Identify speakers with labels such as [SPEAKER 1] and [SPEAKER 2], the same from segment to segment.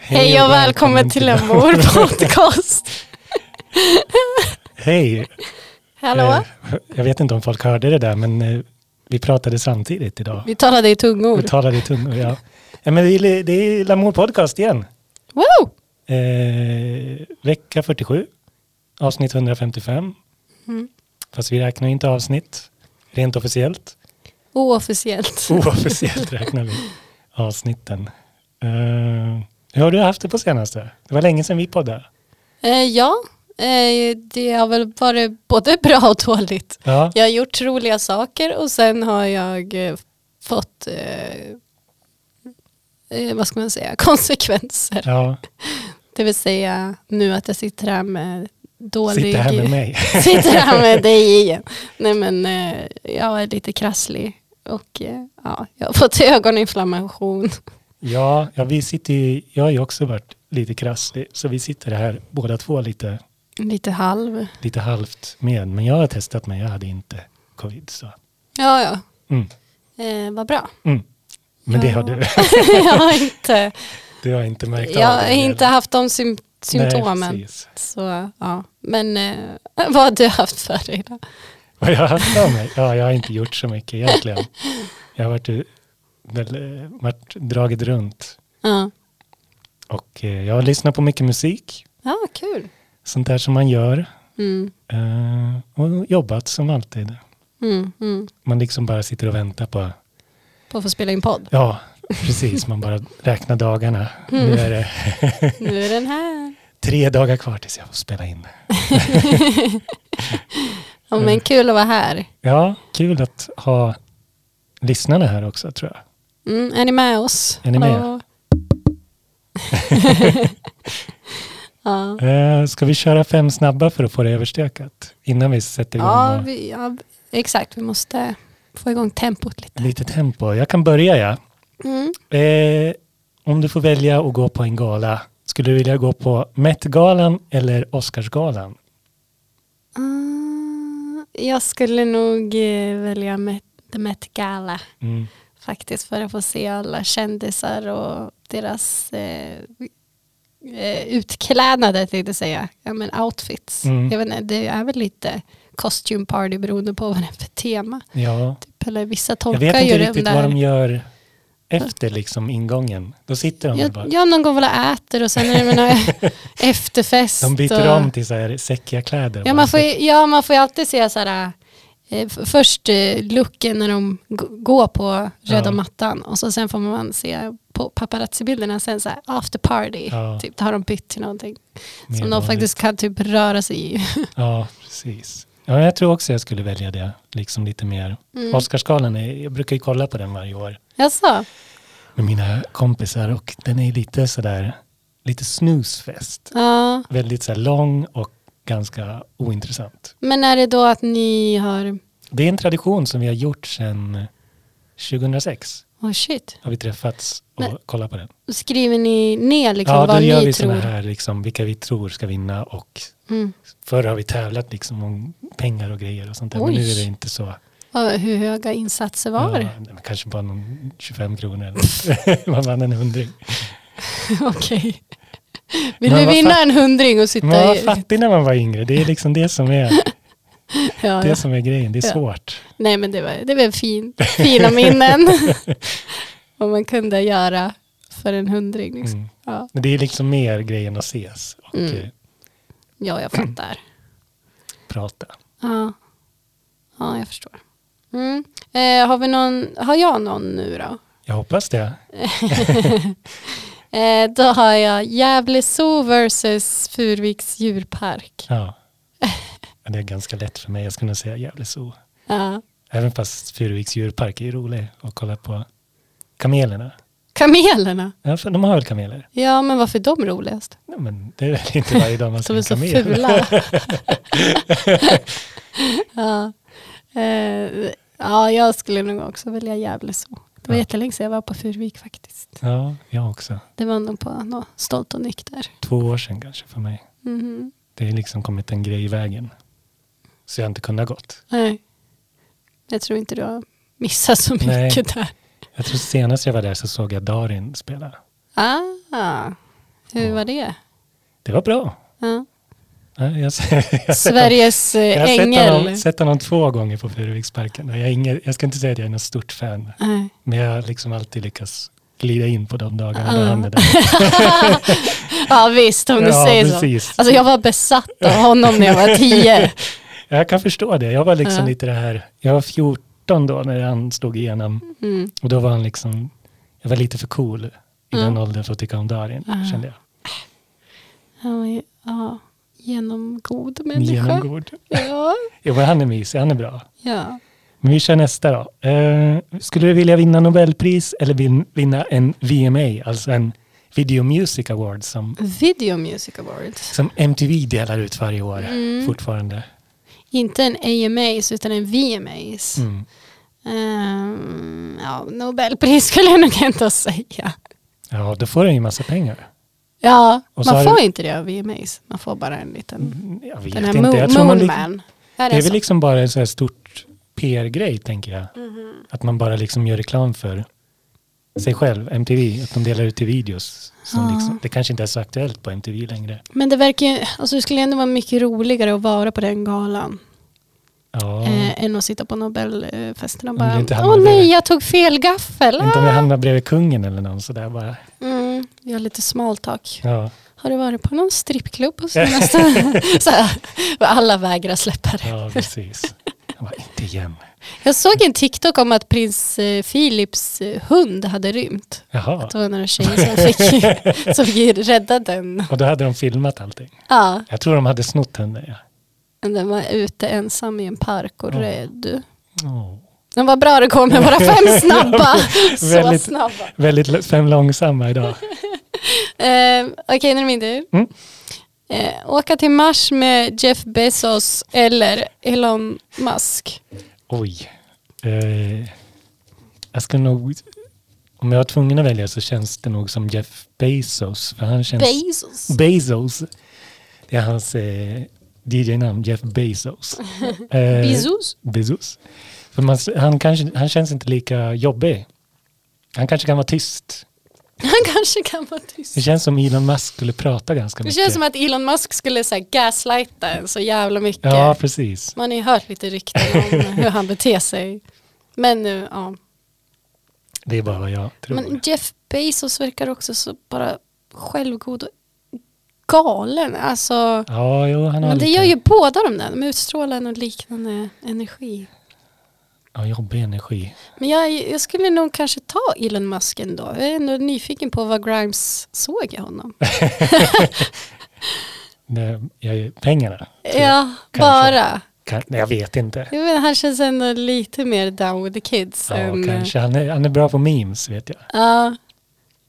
[SPEAKER 1] Hej och välkommen till en vår podcast.
[SPEAKER 2] Hej!
[SPEAKER 1] Hallå?
[SPEAKER 2] Eh, Jag vet inte om folk hörde det där, men eh, vi pratade samtidigt idag.
[SPEAKER 1] Vi talade i
[SPEAKER 2] Vi
[SPEAKER 1] tungor.
[SPEAKER 2] talade i tungor, ja. ja men vi, det är Lamour Podcast igen.
[SPEAKER 1] Wow!
[SPEAKER 2] Eh, vecka 47, avsnitt 155.
[SPEAKER 1] Mm.
[SPEAKER 2] Fast vi räknar inte avsnitt, rent officiellt.
[SPEAKER 1] Oofficiellt.
[SPEAKER 2] Oh. Oofficiellt räknar vi avsnitten. Eh, hur har du haft det på senaste? Det var länge sedan vi poddade.
[SPEAKER 1] Eh, ja, eh, det har väl varit både bra och dåligt.
[SPEAKER 2] Ja,
[SPEAKER 1] Jag har gjort roliga saker och sen har jag eh, fått, eh, eh, vad ska man säga, konsekvenser.
[SPEAKER 2] ja.
[SPEAKER 1] Det vill säga nu att jag sitter här med dålig...
[SPEAKER 2] sitter här med mig.
[SPEAKER 1] Sitter här med dig igen. Nej men eh, jag är lite krasslig och eh, ja, jag har fått ögoninflammation.
[SPEAKER 2] Ja, ja vi sitter ju, jag har ju också varit lite krasslig, så vi sitter här båda två lite,
[SPEAKER 1] Lite halv.
[SPEAKER 2] lite halvt med. Men jag har testat mig, jag hade inte covid. Så.
[SPEAKER 1] Ja, ja.
[SPEAKER 2] Mm,
[SPEAKER 1] Eh, vad bra.
[SPEAKER 2] mm. Men det
[SPEAKER 1] Ja.
[SPEAKER 2] har du,
[SPEAKER 1] jag har inte,
[SPEAKER 2] det har jag inte märkt
[SPEAKER 1] jag
[SPEAKER 2] av.
[SPEAKER 1] har inte haft de sym- symptomen.
[SPEAKER 2] Nej, precis.
[SPEAKER 1] så ja, men eh, vad har du haft för dig då?
[SPEAKER 2] Vad jag har haft av mig? Ja, jag har inte gjort så mycket egentligen. Jag har varit, u- väl, eh, varit dragit runt
[SPEAKER 1] Ja,
[SPEAKER 2] och eh, jag har lyssnat på mycket musik,
[SPEAKER 1] ja kul.
[SPEAKER 2] sånt där som man gör.
[SPEAKER 1] Mm,
[SPEAKER 2] eh, Och jobbat som alltid.
[SPEAKER 1] mm, mm.
[SPEAKER 2] Man liksom bara sitter och väntar på
[SPEAKER 1] På att få spela in podd.
[SPEAKER 2] Ja, precis. Man bara räknar dagarna. Nu
[SPEAKER 1] Mm.
[SPEAKER 2] är det
[SPEAKER 1] Nu är den här.
[SPEAKER 2] tre dagar kvar tills jag får spela in.
[SPEAKER 1] Ja,
[SPEAKER 2] Mm.
[SPEAKER 1] men kul att vara här.
[SPEAKER 2] Ja, kul att ha lyssnarna här också tror jag.
[SPEAKER 1] Mm, är ni med oss?
[SPEAKER 2] Är ni med?
[SPEAKER 1] Ja. ja.
[SPEAKER 2] Eh, ska vi köra fem snabba för att få det överstökat? Innan vi sätter igång
[SPEAKER 1] Ja,
[SPEAKER 2] och-
[SPEAKER 1] vi, ja, exakt. Vi måste få igång tempot lite.
[SPEAKER 2] lite tempo. Jag kan börja ja.
[SPEAKER 1] Mm.
[SPEAKER 2] Eh, om du får välja att gå på en gala, skulle du vilja gå på Met-galan eller Oscarsgalan?
[SPEAKER 1] Ah, jag skulle nog eh, välja Met, The Met Gala
[SPEAKER 2] Mm.
[SPEAKER 1] faktiskt för att få se alla kändisar och deras eh, eh, utklädnader tänkte jag säga. Ja men outfits.
[SPEAKER 2] Mm.
[SPEAKER 1] Jag vet inte, det är väl lite costume party beroende på vad det är för tema.
[SPEAKER 2] Ja,
[SPEAKER 1] Typ, eller vissa
[SPEAKER 2] jag
[SPEAKER 1] tolkar
[SPEAKER 2] vet
[SPEAKER 1] ju
[SPEAKER 2] inte
[SPEAKER 1] den
[SPEAKER 2] riktigt
[SPEAKER 1] där.
[SPEAKER 2] vad de gör efter liksom ingången. Då sitter de väl bara.
[SPEAKER 1] Jag, jag någon gång väl och äter och sen är det någon efterfest.
[SPEAKER 2] De byter
[SPEAKER 1] och,
[SPEAKER 2] om till så här säckiga kläder.
[SPEAKER 1] Ja man, får, ju- ja, man får ju alltid se så här, eh, f- först eh, looken när de g- går på röda
[SPEAKER 2] Ja.
[SPEAKER 1] mattan och så sen får man se på paparazzi-bilderna sen så här after party.
[SPEAKER 2] Ja.
[SPEAKER 1] Typ, då har de bytt till någonting
[SPEAKER 2] Mer
[SPEAKER 1] som de
[SPEAKER 2] vanligt.
[SPEAKER 1] faktiskt kan typ röra sig i.
[SPEAKER 2] Ja, precis. Ja, jag tror också jag skulle välja det, liksom lite mer.
[SPEAKER 1] Mm.
[SPEAKER 2] Oscarsgalan, är, jag brukar ju kolla på den varje år
[SPEAKER 1] Jaså?
[SPEAKER 2] med mina kompisar och den är lite sådär, lite snusfest.
[SPEAKER 1] Ja.
[SPEAKER 2] Väldigt så här lång och ganska ointressant.
[SPEAKER 1] Men är det då att ni har,
[SPEAKER 2] Det är en tradition som vi har gjort sedan 2006.
[SPEAKER 1] oh shit,
[SPEAKER 2] Har vi träffats och
[SPEAKER 1] Men-
[SPEAKER 2] kollat på den.
[SPEAKER 1] skriver ni ner liksom
[SPEAKER 2] ja, då
[SPEAKER 1] vad
[SPEAKER 2] gör
[SPEAKER 1] ni
[SPEAKER 2] vi
[SPEAKER 1] tror?
[SPEAKER 2] sådana här, liksom, vilka vi tror ska vinna och
[SPEAKER 1] Mm.
[SPEAKER 2] Förr har vi tävlat liksom om pengar och grejer och sånt där. Men
[SPEAKER 1] Oj.
[SPEAKER 2] nu är det inte så.
[SPEAKER 1] Vad- Hur höga insatser var det?
[SPEAKER 2] Ja, nej, men kanske bara någon 25 kronor. eller något. Man vann en hundring.
[SPEAKER 1] Okej. Vill
[SPEAKER 2] Men
[SPEAKER 1] du
[SPEAKER 2] vad
[SPEAKER 1] vinna
[SPEAKER 2] fa-
[SPEAKER 1] en hundring och
[SPEAKER 2] Man
[SPEAKER 1] sitta
[SPEAKER 2] var
[SPEAKER 1] i...
[SPEAKER 2] fattig när man var yngre. Det är liksom det som är,
[SPEAKER 1] Ja, ja.
[SPEAKER 2] det som är grejen. Det är
[SPEAKER 1] Ja.
[SPEAKER 2] svårt.
[SPEAKER 1] Nej men det var, det var fin, fina minnen. Vad man kunde göra för en hundring. Liksom.
[SPEAKER 2] Mm.
[SPEAKER 1] Ja.
[SPEAKER 2] Men det är liksom mer grejen att ses och
[SPEAKER 1] Mm.
[SPEAKER 2] eh,
[SPEAKER 1] ja, jag fattar.
[SPEAKER 2] prata.
[SPEAKER 1] Ja, ja jag förstår. Mm. Eh, har, vi någon, har jag någon nu då?
[SPEAKER 2] Jag hoppas det.
[SPEAKER 1] Eh, då har jag Gävle Zoo versus Furviks djurpark.
[SPEAKER 2] Ja. Men Det är ganska lätt för mig. Jag skulle nog säga Gävle Zoo.
[SPEAKER 1] Ja.
[SPEAKER 2] Även fast Furuviks djurpark är ju rolig att kolla på. Kamelerna.
[SPEAKER 1] Kamelerna,
[SPEAKER 2] Ja, för de har väl kameler?
[SPEAKER 1] ja men varför är de roligast?
[SPEAKER 2] Nej, men det är väl inte varje dag man ser
[SPEAKER 1] De är
[SPEAKER 2] en
[SPEAKER 1] så
[SPEAKER 2] kamel.
[SPEAKER 1] fula. ja. Eh, ja, jag skulle nog också välja Gävle så. Det var
[SPEAKER 2] Ja.
[SPEAKER 1] jättelänge sedan jag var på Furuvik faktiskt.
[SPEAKER 2] Ja, jag också.
[SPEAKER 1] Det var nog på nå, Stolt och nykter.
[SPEAKER 2] Två år sedan kanske för mig.
[SPEAKER 1] Mhm.
[SPEAKER 2] Det har liksom kommit en grej i vägen. Så jag har inte kunnat gått.
[SPEAKER 1] Nej. Jag tror inte du har missat så mycket
[SPEAKER 2] Nej.
[SPEAKER 1] där.
[SPEAKER 2] Jag tror senast jag var där så såg jag Darin spela.
[SPEAKER 1] Ah, Hur var det?
[SPEAKER 2] Det var bra.
[SPEAKER 1] Ja.
[SPEAKER 2] Ja, Jag, jag har sett honom-
[SPEAKER 1] Sveriges
[SPEAKER 2] jag
[SPEAKER 1] eh,
[SPEAKER 2] har sett honom,
[SPEAKER 1] ängel.
[SPEAKER 2] sett honom två gånger på Furuviksparken. och Jag, är ingen- jag ska inte säga att jag är något stort fan,
[SPEAKER 1] Nej.
[SPEAKER 2] men jag har liksom alltid lyckats glida in på de dagarna
[SPEAKER 1] Ja.
[SPEAKER 2] när han är där.
[SPEAKER 1] Ja visst, om du
[SPEAKER 2] ja,
[SPEAKER 1] säger så.
[SPEAKER 2] precis.
[SPEAKER 1] Alltså jag var besatt av honom när jag var tio.
[SPEAKER 2] Jag kan förstå det. Jag var liksom
[SPEAKER 1] Alltså- Ja.
[SPEAKER 2] lite det här, jag var 14 då när han slog igenom
[SPEAKER 1] Mm.
[SPEAKER 2] och då var han liksom, jag var lite för cool i
[SPEAKER 1] Mm. Ah.
[SPEAKER 2] den åldern för att tycka om Darin,
[SPEAKER 1] Ja.
[SPEAKER 2] kände jag.
[SPEAKER 1] Han var ju- ja, genomgod
[SPEAKER 2] Men
[SPEAKER 1] människa.
[SPEAKER 2] Genomgod.
[SPEAKER 1] Ja.
[SPEAKER 2] Jo, men han är mysig, han är bra.
[SPEAKER 1] ja.
[SPEAKER 2] Men vi kör nästa då. Eh, skulle du vilja vinna Nobelpris eller vin, vinna en VMA, alltså en Video Music Award som,
[SPEAKER 1] Video Music Awards.
[SPEAKER 2] som MTV delar ut varje år
[SPEAKER 1] Mm.
[SPEAKER 2] fortfarande?
[SPEAKER 1] Inte en AMAs utan en VMAs.
[SPEAKER 2] Mm.
[SPEAKER 1] Ehm, ja, Nobelpris skulle jag nog inte säga.
[SPEAKER 2] Ja, då får den ju massa pengar.
[SPEAKER 1] Ja,
[SPEAKER 2] Och så
[SPEAKER 1] man
[SPEAKER 2] har Mm,
[SPEAKER 1] får inte det av VMAs. Man får bara en liten...
[SPEAKER 2] Jag vet
[SPEAKER 1] Den här
[SPEAKER 2] inte. Jag tror
[SPEAKER 1] Mo-
[SPEAKER 2] man, li-
[SPEAKER 1] Moonman. Är
[SPEAKER 2] det
[SPEAKER 1] alltså- det
[SPEAKER 2] är väl
[SPEAKER 1] så?
[SPEAKER 2] liksom bara en så här stort PR-grej, tänker jag.
[SPEAKER 1] Mm-hmm.
[SPEAKER 2] Att man bara liksom gör reklam för sig själv, MTV, att de delar ut till videos. Som
[SPEAKER 1] Ja.
[SPEAKER 2] liksom, det kanske inte är så aktuellt på MTV längre.
[SPEAKER 1] Men det verkar ju... Alltså det skulle ändå vara mycket roligare att vara på den galan.
[SPEAKER 2] Ja,
[SPEAKER 1] Eh, än att sitta på Nobelfesten och
[SPEAKER 2] Om du
[SPEAKER 1] bara...
[SPEAKER 2] inte hamnar
[SPEAKER 1] Åh nej,
[SPEAKER 2] bredvid."
[SPEAKER 1] jag tog fel gaffel.
[SPEAKER 2] inte om jag
[SPEAKER 1] Ah!
[SPEAKER 2] hamnar bredvid kungen eller någon sådär bara.
[SPEAKER 1] Mm, jag har lite smaltak.
[SPEAKER 2] Ja,
[SPEAKER 1] Har du varit på någon strippklubb på senaste? så här, och alla vägrar släppa det.
[SPEAKER 2] ja precis. Jag bara, inte igen.
[SPEAKER 1] Jag såg en TikTok om att prins eh, Philips eh, hund hade rymt.
[SPEAKER 2] Jaha,
[SPEAKER 1] Att det var några tjejer som fick, som fick rädda den.
[SPEAKER 2] och då hade de filmat allting.
[SPEAKER 1] Ja,
[SPEAKER 2] Jag tror de hade snott henne. Ja.
[SPEAKER 1] men den var ute ensam i en park och
[SPEAKER 2] Ja.
[SPEAKER 1] rädd.
[SPEAKER 2] Åh.
[SPEAKER 1] Den var bra det kom med våra fem snabba. Så
[SPEAKER 2] Väldigt-
[SPEAKER 1] snabba.
[SPEAKER 2] Väldigt l- fem långsamma idag.
[SPEAKER 1] Eh, Okej, nu är det min tur.
[SPEAKER 2] Mm.
[SPEAKER 1] Eh, åka till Mars med Jeff Bezos eller Elon Musk.
[SPEAKER 2] Oj. Eh, jag ska nog... Om jag var tvungen att välja så känns det nog som Jeff Bezos. För han känns...
[SPEAKER 1] Bezos.
[SPEAKER 2] Bezos. Det är hans eh, DJ-namn, Jeff Bezos. Eh,
[SPEAKER 1] Bezos.
[SPEAKER 2] Bezos. För man, s- han, kanske, han känns inte lika jobbig. Han kanske kan vara tyst.
[SPEAKER 1] Han kanske kan vara tyst.
[SPEAKER 2] Det känns som Elon Musk skulle prata ganska
[SPEAKER 1] Det
[SPEAKER 2] mycket.
[SPEAKER 1] känns som att Elon Musk skulle så här, gaslighta en så jävla mycket.
[SPEAKER 2] Ja, precis.
[SPEAKER 1] Man har ju hört lite rykten om hur han beter sig. Men nu, ja.
[SPEAKER 2] Det är bara vad jag tror.
[SPEAKER 1] Men Jeff Bezos verkar också så bara självgod och galen. Alltså,
[SPEAKER 2] ja, jo, han har
[SPEAKER 1] men det
[SPEAKER 2] lite...
[SPEAKER 1] gör ju båda de där. De utstrålar en liknande energi.
[SPEAKER 2] Ja, jobbig energi.
[SPEAKER 1] Men jag, jag skulle nog kanske ta Elon Musk ändå. Jag är ändå nyfiken på vad Grimes såg i honom.
[SPEAKER 2] Det, jag, pengarna. tror jag.
[SPEAKER 1] Ja, bara.
[SPEAKER 2] Kan, nej, jag vet inte.
[SPEAKER 1] Jag menar, han känns ändå lite mer down with the kids.
[SPEAKER 2] Ja,
[SPEAKER 1] än,
[SPEAKER 2] kanske. Han är, han är bra på memes, vet jag.
[SPEAKER 1] Ja.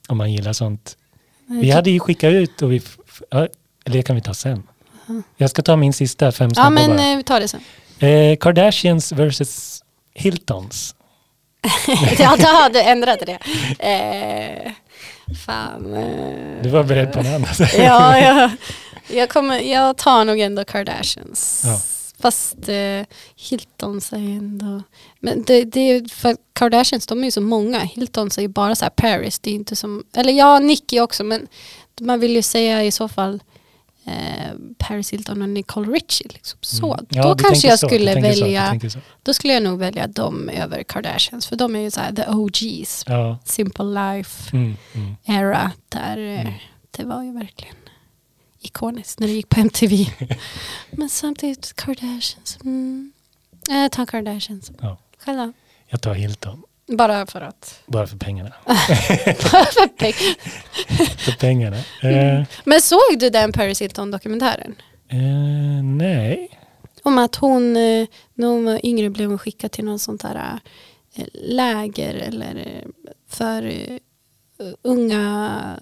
[SPEAKER 2] Om man gillar sånt. Vi hade ju skickat ut och vi... f- f- ja, Eller det kan vi ta sen. Jag ska ta min sista fem snabba
[SPEAKER 1] Ja men
[SPEAKER 2] bara.
[SPEAKER 1] eh, vi tar det sen.
[SPEAKER 2] Eh, Kardashians versus Hiltons.
[SPEAKER 1] ja då har du ändrat det. Eh, fan. Eh,
[SPEAKER 2] Du var beredd på något annat.
[SPEAKER 1] ja, jag, jag, kommer, jag tar nog ändå Kardashians.
[SPEAKER 2] Ja.
[SPEAKER 1] Fast eh, Hiltons är ju ändå... Men det, det är ju för Kardashians de är ju så många. Hiltons är ju bara så här Paris. Det är inte som... Eller ja, Nicki också men man vill ju säga i så fall eh, Paris Hilton och Nicole Richie. Liksom. Så.
[SPEAKER 2] Mm. Ja,
[SPEAKER 1] då
[SPEAKER 2] du
[SPEAKER 1] kanske
[SPEAKER 2] tänker
[SPEAKER 1] jag
[SPEAKER 2] så, du
[SPEAKER 1] skulle
[SPEAKER 2] tänker så, du
[SPEAKER 1] välja...
[SPEAKER 2] tänker så.
[SPEAKER 1] Då skulle jag nog välja dem över Kardashians för de är ju så här the OGs,
[SPEAKER 2] Ja.
[SPEAKER 1] Simple Life
[SPEAKER 2] Mm, mm.
[SPEAKER 1] era där eh, det var ju verkligen ikoniskt när det gick på MTV. Men samtidigt Kardashians. Mm. Jag tar Kardashians.
[SPEAKER 2] Ja.
[SPEAKER 1] Själv då?
[SPEAKER 2] Jag tar Hilton.
[SPEAKER 1] Bara för att.
[SPEAKER 2] Bara för pengarna.
[SPEAKER 1] För peng-
[SPEAKER 2] För pengarna. Eh,
[SPEAKER 1] Men såg du den Paris Hilton-dokumentären?
[SPEAKER 2] eh, nej.
[SPEAKER 1] Om att hon, eh, när hon var yngre blev hon skickad till någon sånt där eh, läger eller eh, för eh, unga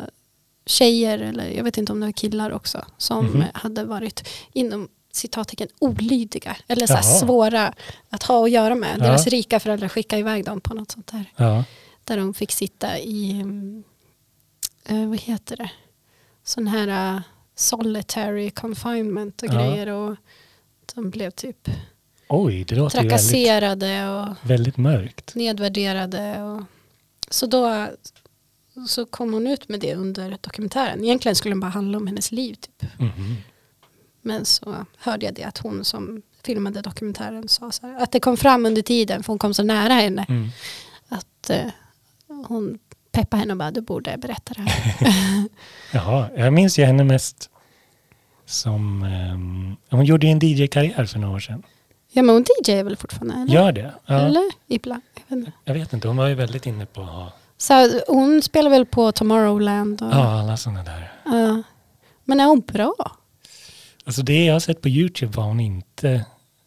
[SPEAKER 1] tjejer eller jag vet inte om det var killar också som
[SPEAKER 2] Mhm.
[SPEAKER 1] eh, hade varit inom citattecken olydiga eller så här
[SPEAKER 2] Jaha.
[SPEAKER 1] svåra att ha att göra med.
[SPEAKER 2] Ja.
[SPEAKER 1] Deras rika föräldrar skickade iväg dem på något sånt där.
[SPEAKER 2] Ja.
[SPEAKER 1] Där de fick sitta i, mm, eh, vad heter det, sån här eh, solitary confinement och
[SPEAKER 2] Ja.
[SPEAKER 1] grejer. Och de blev typ
[SPEAKER 2] Oj, det låter ju väldigt,
[SPEAKER 1] trakasserade och
[SPEAKER 2] väldigt mörkt.
[SPEAKER 1] nedvärderade. Och, så då så kom hon ut med det under dokumentären. Egentligen skulle den bara handla om hennes liv. Typ.
[SPEAKER 2] Mhm.
[SPEAKER 1] Men så hörde jag det att hon som filmade dokumentären sa så här, att det kom fram under tiden, för hon kom så nära henne,
[SPEAKER 2] Mm.
[SPEAKER 1] att eh, hon peppade henne och bara, du borde berätta det här.
[SPEAKER 2] Jaha, jag minns ju henne mest som... ehm, hon gjorde ju en DJ-karriär för några år sedan.
[SPEAKER 1] ja men hon DJ är väl fortfarande? Eller?
[SPEAKER 2] Gör det? Ja,
[SPEAKER 1] Eller? Ibland. Jag vet inte.
[SPEAKER 2] jag vet inte, hon var ju väldigt inne på att ha-
[SPEAKER 1] Så här, hon spelar väl på Tomorrowland och...
[SPEAKER 2] ja, alla sådana där.
[SPEAKER 1] Ja. men är hon bra?
[SPEAKER 2] Alltså det jag har sett på YouTube var hon inte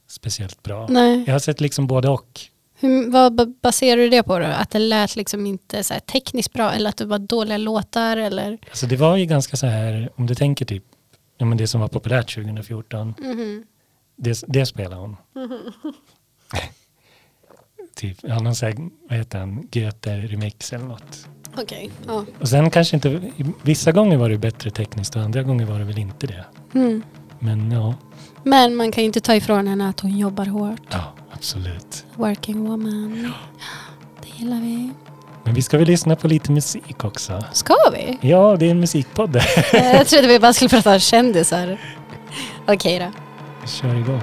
[SPEAKER 2] speciellt bra.
[SPEAKER 1] Nej.
[SPEAKER 2] Jag har sett liksom både och.
[SPEAKER 1] Hur, vad ba- baserar du det på då? Att det lät liksom inte så här tekniskt bra eller att det var dåliga låtar eller?
[SPEAKER 2] Alltså det var ju ganska så här, om du tänker typ, ja men det som var populärt 2014, det, det spelar hon. typ, ja någon så här, vad heter han, Göter remix eller något.
[SPEAKER 1] Okej. Ja.
[SPEAKER 2] Och sen kanske inte, vissa gånger var det bättre tekniskt och andra gånger var det väl inte det.
[SPEAKER 1] Mm.
[SPEAKER 2] Men ja,
[SPEAKER 1] Men man kan ju inte ta ifrån henne att hon jobbar hårt.
[SPEAKER 2] ja absolut.
[SPEAKER 1] Working woman. Det gillar vi.
[SPEAKER 2] Men vi ska väl lyssna på lite musik också.
[SPEAKER 1] Ska vi?
[SPEAKER 2] Ja, det är en musikpodd.
[SPEAKER 1] Eh, Jag trodde vi bara skulle prata om kändisar. Okej då.
[SPEAKER 2] Vi kör igång.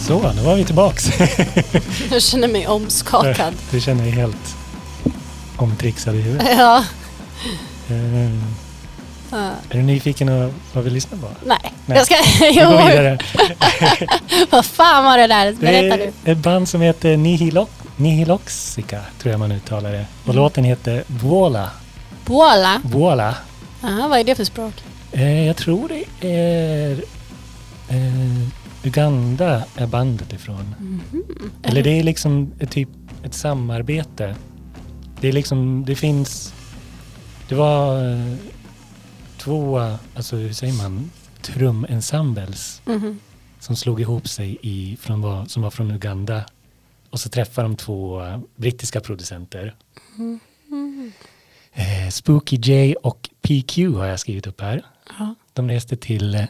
[SPEAKER 2] Så, nu var vi tillbaks.
[SPEAKER 1] Jag känner mig omskakad.
[SPEAKER 2] Du känner dig helt omtrixad i huvudet.
[SPEAKER 1] ja.
[SPEAKER 2] Eh,
[SPEAKER 1] Ja.
[SPEAKER 2] Är du nyfiken på vad vi lyssnar på?
[SPEAKER 1] nej.
[SPEAKER 2] Nej.
[SPEAKER 1] jag ska...
[SPEAKER 2] Vi går
[SPEAKER 1] Jo,
[SPEAKER 2] vidare.
[SPEAKER 1] vad fan var det där?
[SPEAKER 2] Det
[SPEAKER 1] Berätta du.
[SPEAKER 2] är ett band som heter Nihilo Nihiloxica, tror jag man uttalar det. Och låten heter Vuola.
[SPEAKER 1] Voila.
[SPEAKER 2] Vuola.
[SPEAKER 1] Aha, vad är det för språk?
[SPEAKER 2] Eh, jag tror det är eh, Uganda är bandet ifrån. Eller det är liksom ett, typ ett samarbete. Det är liksom, det finns, det var eh, två, alltså hur säger man, trumensembles
[SPEAKER 1] Mhm.
[SPEAKER 2] som slog ihop sig i, från, vad- som var från Uganda. Och så träffade de två eh, brittiska producenter. Eh, Spooky J och PQ har jag skrivit upp här.
[SPEAKER 1] Ja.
[SPEAKER 2] De reste till eh,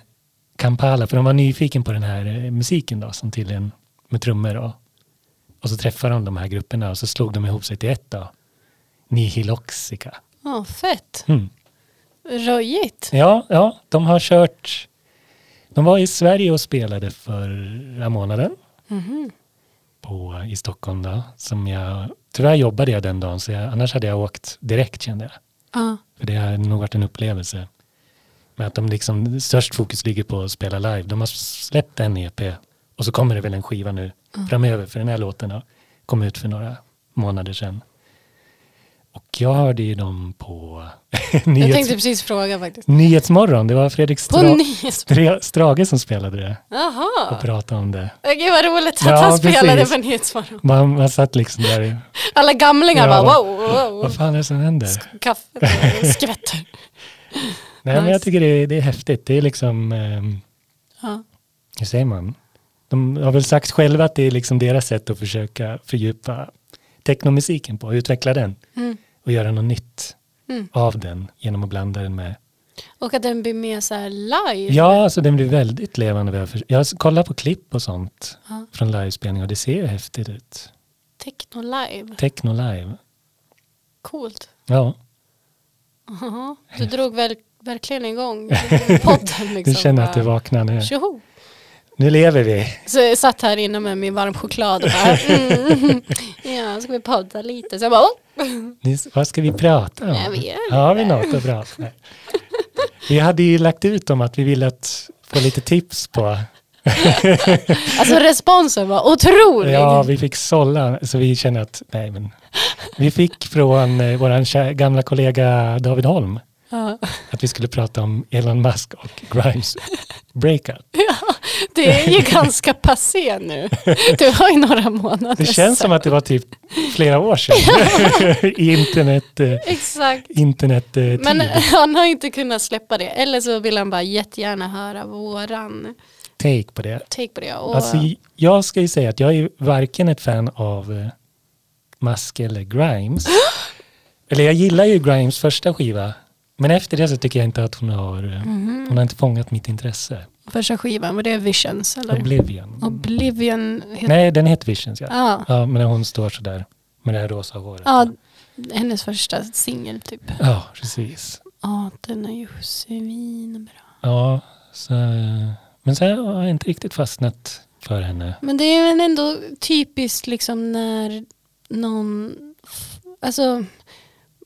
[SPEAKER 2] Kampala för de var nyfiken på den här eh, musiken då, som tydligen med trummor då. Och så träffade de de här grupperna och så slog de ihop sig till ett då. Nihiloxica.
[SPEAKER 1] Ja, fett.
[SPEAKER 2] Mm.
[SPEAKER 1] Röjigt.
[SPEAKER 2] Ja, ja, de har kört. De var i Sverige och spelade förra månaden. På, I Stockholm då. Som jag, tyvärr jobbade jag den dagen så jag, annars hade jag åkt direkt kände jag.
[SPEAKER 1] Ja.
[SPEAKER 2] För det har nog varit en upplevelse. Men att de liksom, störst fokus ligger på att spela live. De har släppt en EP och så kommer det väl en skiva nu framöver. För den här låten har kom ut för några månader sedan. Och jag hörde ju dem på
[SPEAKER 1] Jag
[SPEAKER 2] nyhets,
[SPEAKER 1] tänkte precis fråga faktiskt.
[SPEAKER 2] Nyhetsmorgon. Det var Fredrik
[SPEAKER 1] På
[SPEAKER 2] Stra,
[SPEAKER 1] nyhets...
[SPEAKER 2] Stra, Strage som spelade det och
[SPEAKER 1] Jaha.
[SPEAKER 2] pratade om det.
[SPEAKER 1] Åh, Gud vad roligt att
[SPEAKER 2] Ja,
[SPEAKER 1] han spelade
[SPEAKER 2] precis.
[SPEAKER 1] på Nyhetsmorgon.
[SPEAKER 2] Man, man satt liksom där,
[SPEAKER 1] Alla gamlingar
[SPEAKER 2] Ja.
[SPEAKER 1] bara wow, wow, wow.
[SPEAKER 2] vad fan är det som händer?
[SPEAKER 1] Kaffet skvätter.
[SPEAKER 2] Nej men jag
[SPEAKER 1] nice.
[SPEAKER 2] tycker det är, det är häftigt. Det är liksom, ehm,
[SPEAKER 1] Ja.
[SPEAKER 2] hur säger man? De har väl sagt själva att det är liksom deras sätt att försöka fördjupa technomusiken på, utveckla den
[SPEAKER 1] Mm.
[SPEAKER 2] och göra något nytt
[SPEAKER 1] Mm.
[SPEAKER 2] av den genom att blanda den med
[SPEAKER 1] Och att den blir mer så här live.
[SPEAKER 2] Ja, alltså den blir väldigt levande. vad jag för- Jag kollar på klipp och sånt
[SPEAKER 1] Ja.
[SPEAKER 2] från livespelningar och det ser ju häftigt ut.
[SPEAKER 1] Techno live.
[SPEAKER 2] Techno live.
[SPEAKER 1] Coolt.
[SPEAKER 2] Ja,
[SPEAKER 1] Jaha. Du drog väl, verkligen igång podden. Liksom.
[SPEAKER 2] du känner att det vaknar nu.
[SPEAKER 1] Tjoho!
[SPEAKER 2] Nu lever vi.
[SPEAKER 1] Så jag satt här inne med min varm choklad och bara, mm, ja, ska vi podda lite? Så jag bara, åh,
[SPEAKER 2] Ni- Vad ska vi prata om?
[SPEAKER 1] Jag vet
[SPEAKER 2] Har vi något att prata om? Vi hade ju lagt ut om att vi ville att få lite tips på.
[SPEAKER 1] alltså responsen var otrolig.
[SPEAKER 2] Ja, vi fick sålla så vi känner att nej men. Vi fick från eh, vår kä- gamla kollega David Holm
[SPEAKER 1] Ja.
[SPEAKER 2] att vi skulle prata om Elon Musk och Grimes breakup.
[SPEAKER 1] Det är ju ganska passé nu. Det var ju några månader
[SPEAKER 2] Det känns
[SPEAKER 1] sedan.
[SPEAKER 2] som att det var typ flera år sedan. I internet, eh,
[SPEAKER 1] Exakt.
[SPEAKER 2] internet eh, tid.
[SPEAKER 1] Men han har inte kunnat släppa det. Eller så vill han bara jättegärna höra våran
[SPEAKER 2] take på det.
[SPEAKER 1] take på det. Och,
[SPEAKER 2] Alltså, jag ska ju säga att jag är varken ett fan av eh, Musk eller Grimes. eller jag gillar ju Grimes första skiva. Men efter det så tycker jag inte att hon har, eh,
[SPEAKER 1] Mhm.
[SPEAKER 2] hon har inte fångat mitt intresse.
[SPEAKER 1] Första skivan, var det Visions eller?
[SPEAKER 2] Oblivion.
[SPEAKER 1] Oblivion heter
[SPEAKER 2] Nej, den heter Visions ja. ja.
[SPEAKER 1] Ja,
[SPEAKER 2] men när hon står sådär med det här rosa håret.
[SPEAKER 1] ja hennes första singel typ.
[SPEAKER 2] ja precis.
[SPEAKER 1] Ja, den är ju svinbra.
[SPEAKER 2] Ja, så, men sen har jag inte riktigt fastnat för henne.
[SPEAKER 1] Men det är väl ändå typiskt liksom när någon f- alltså,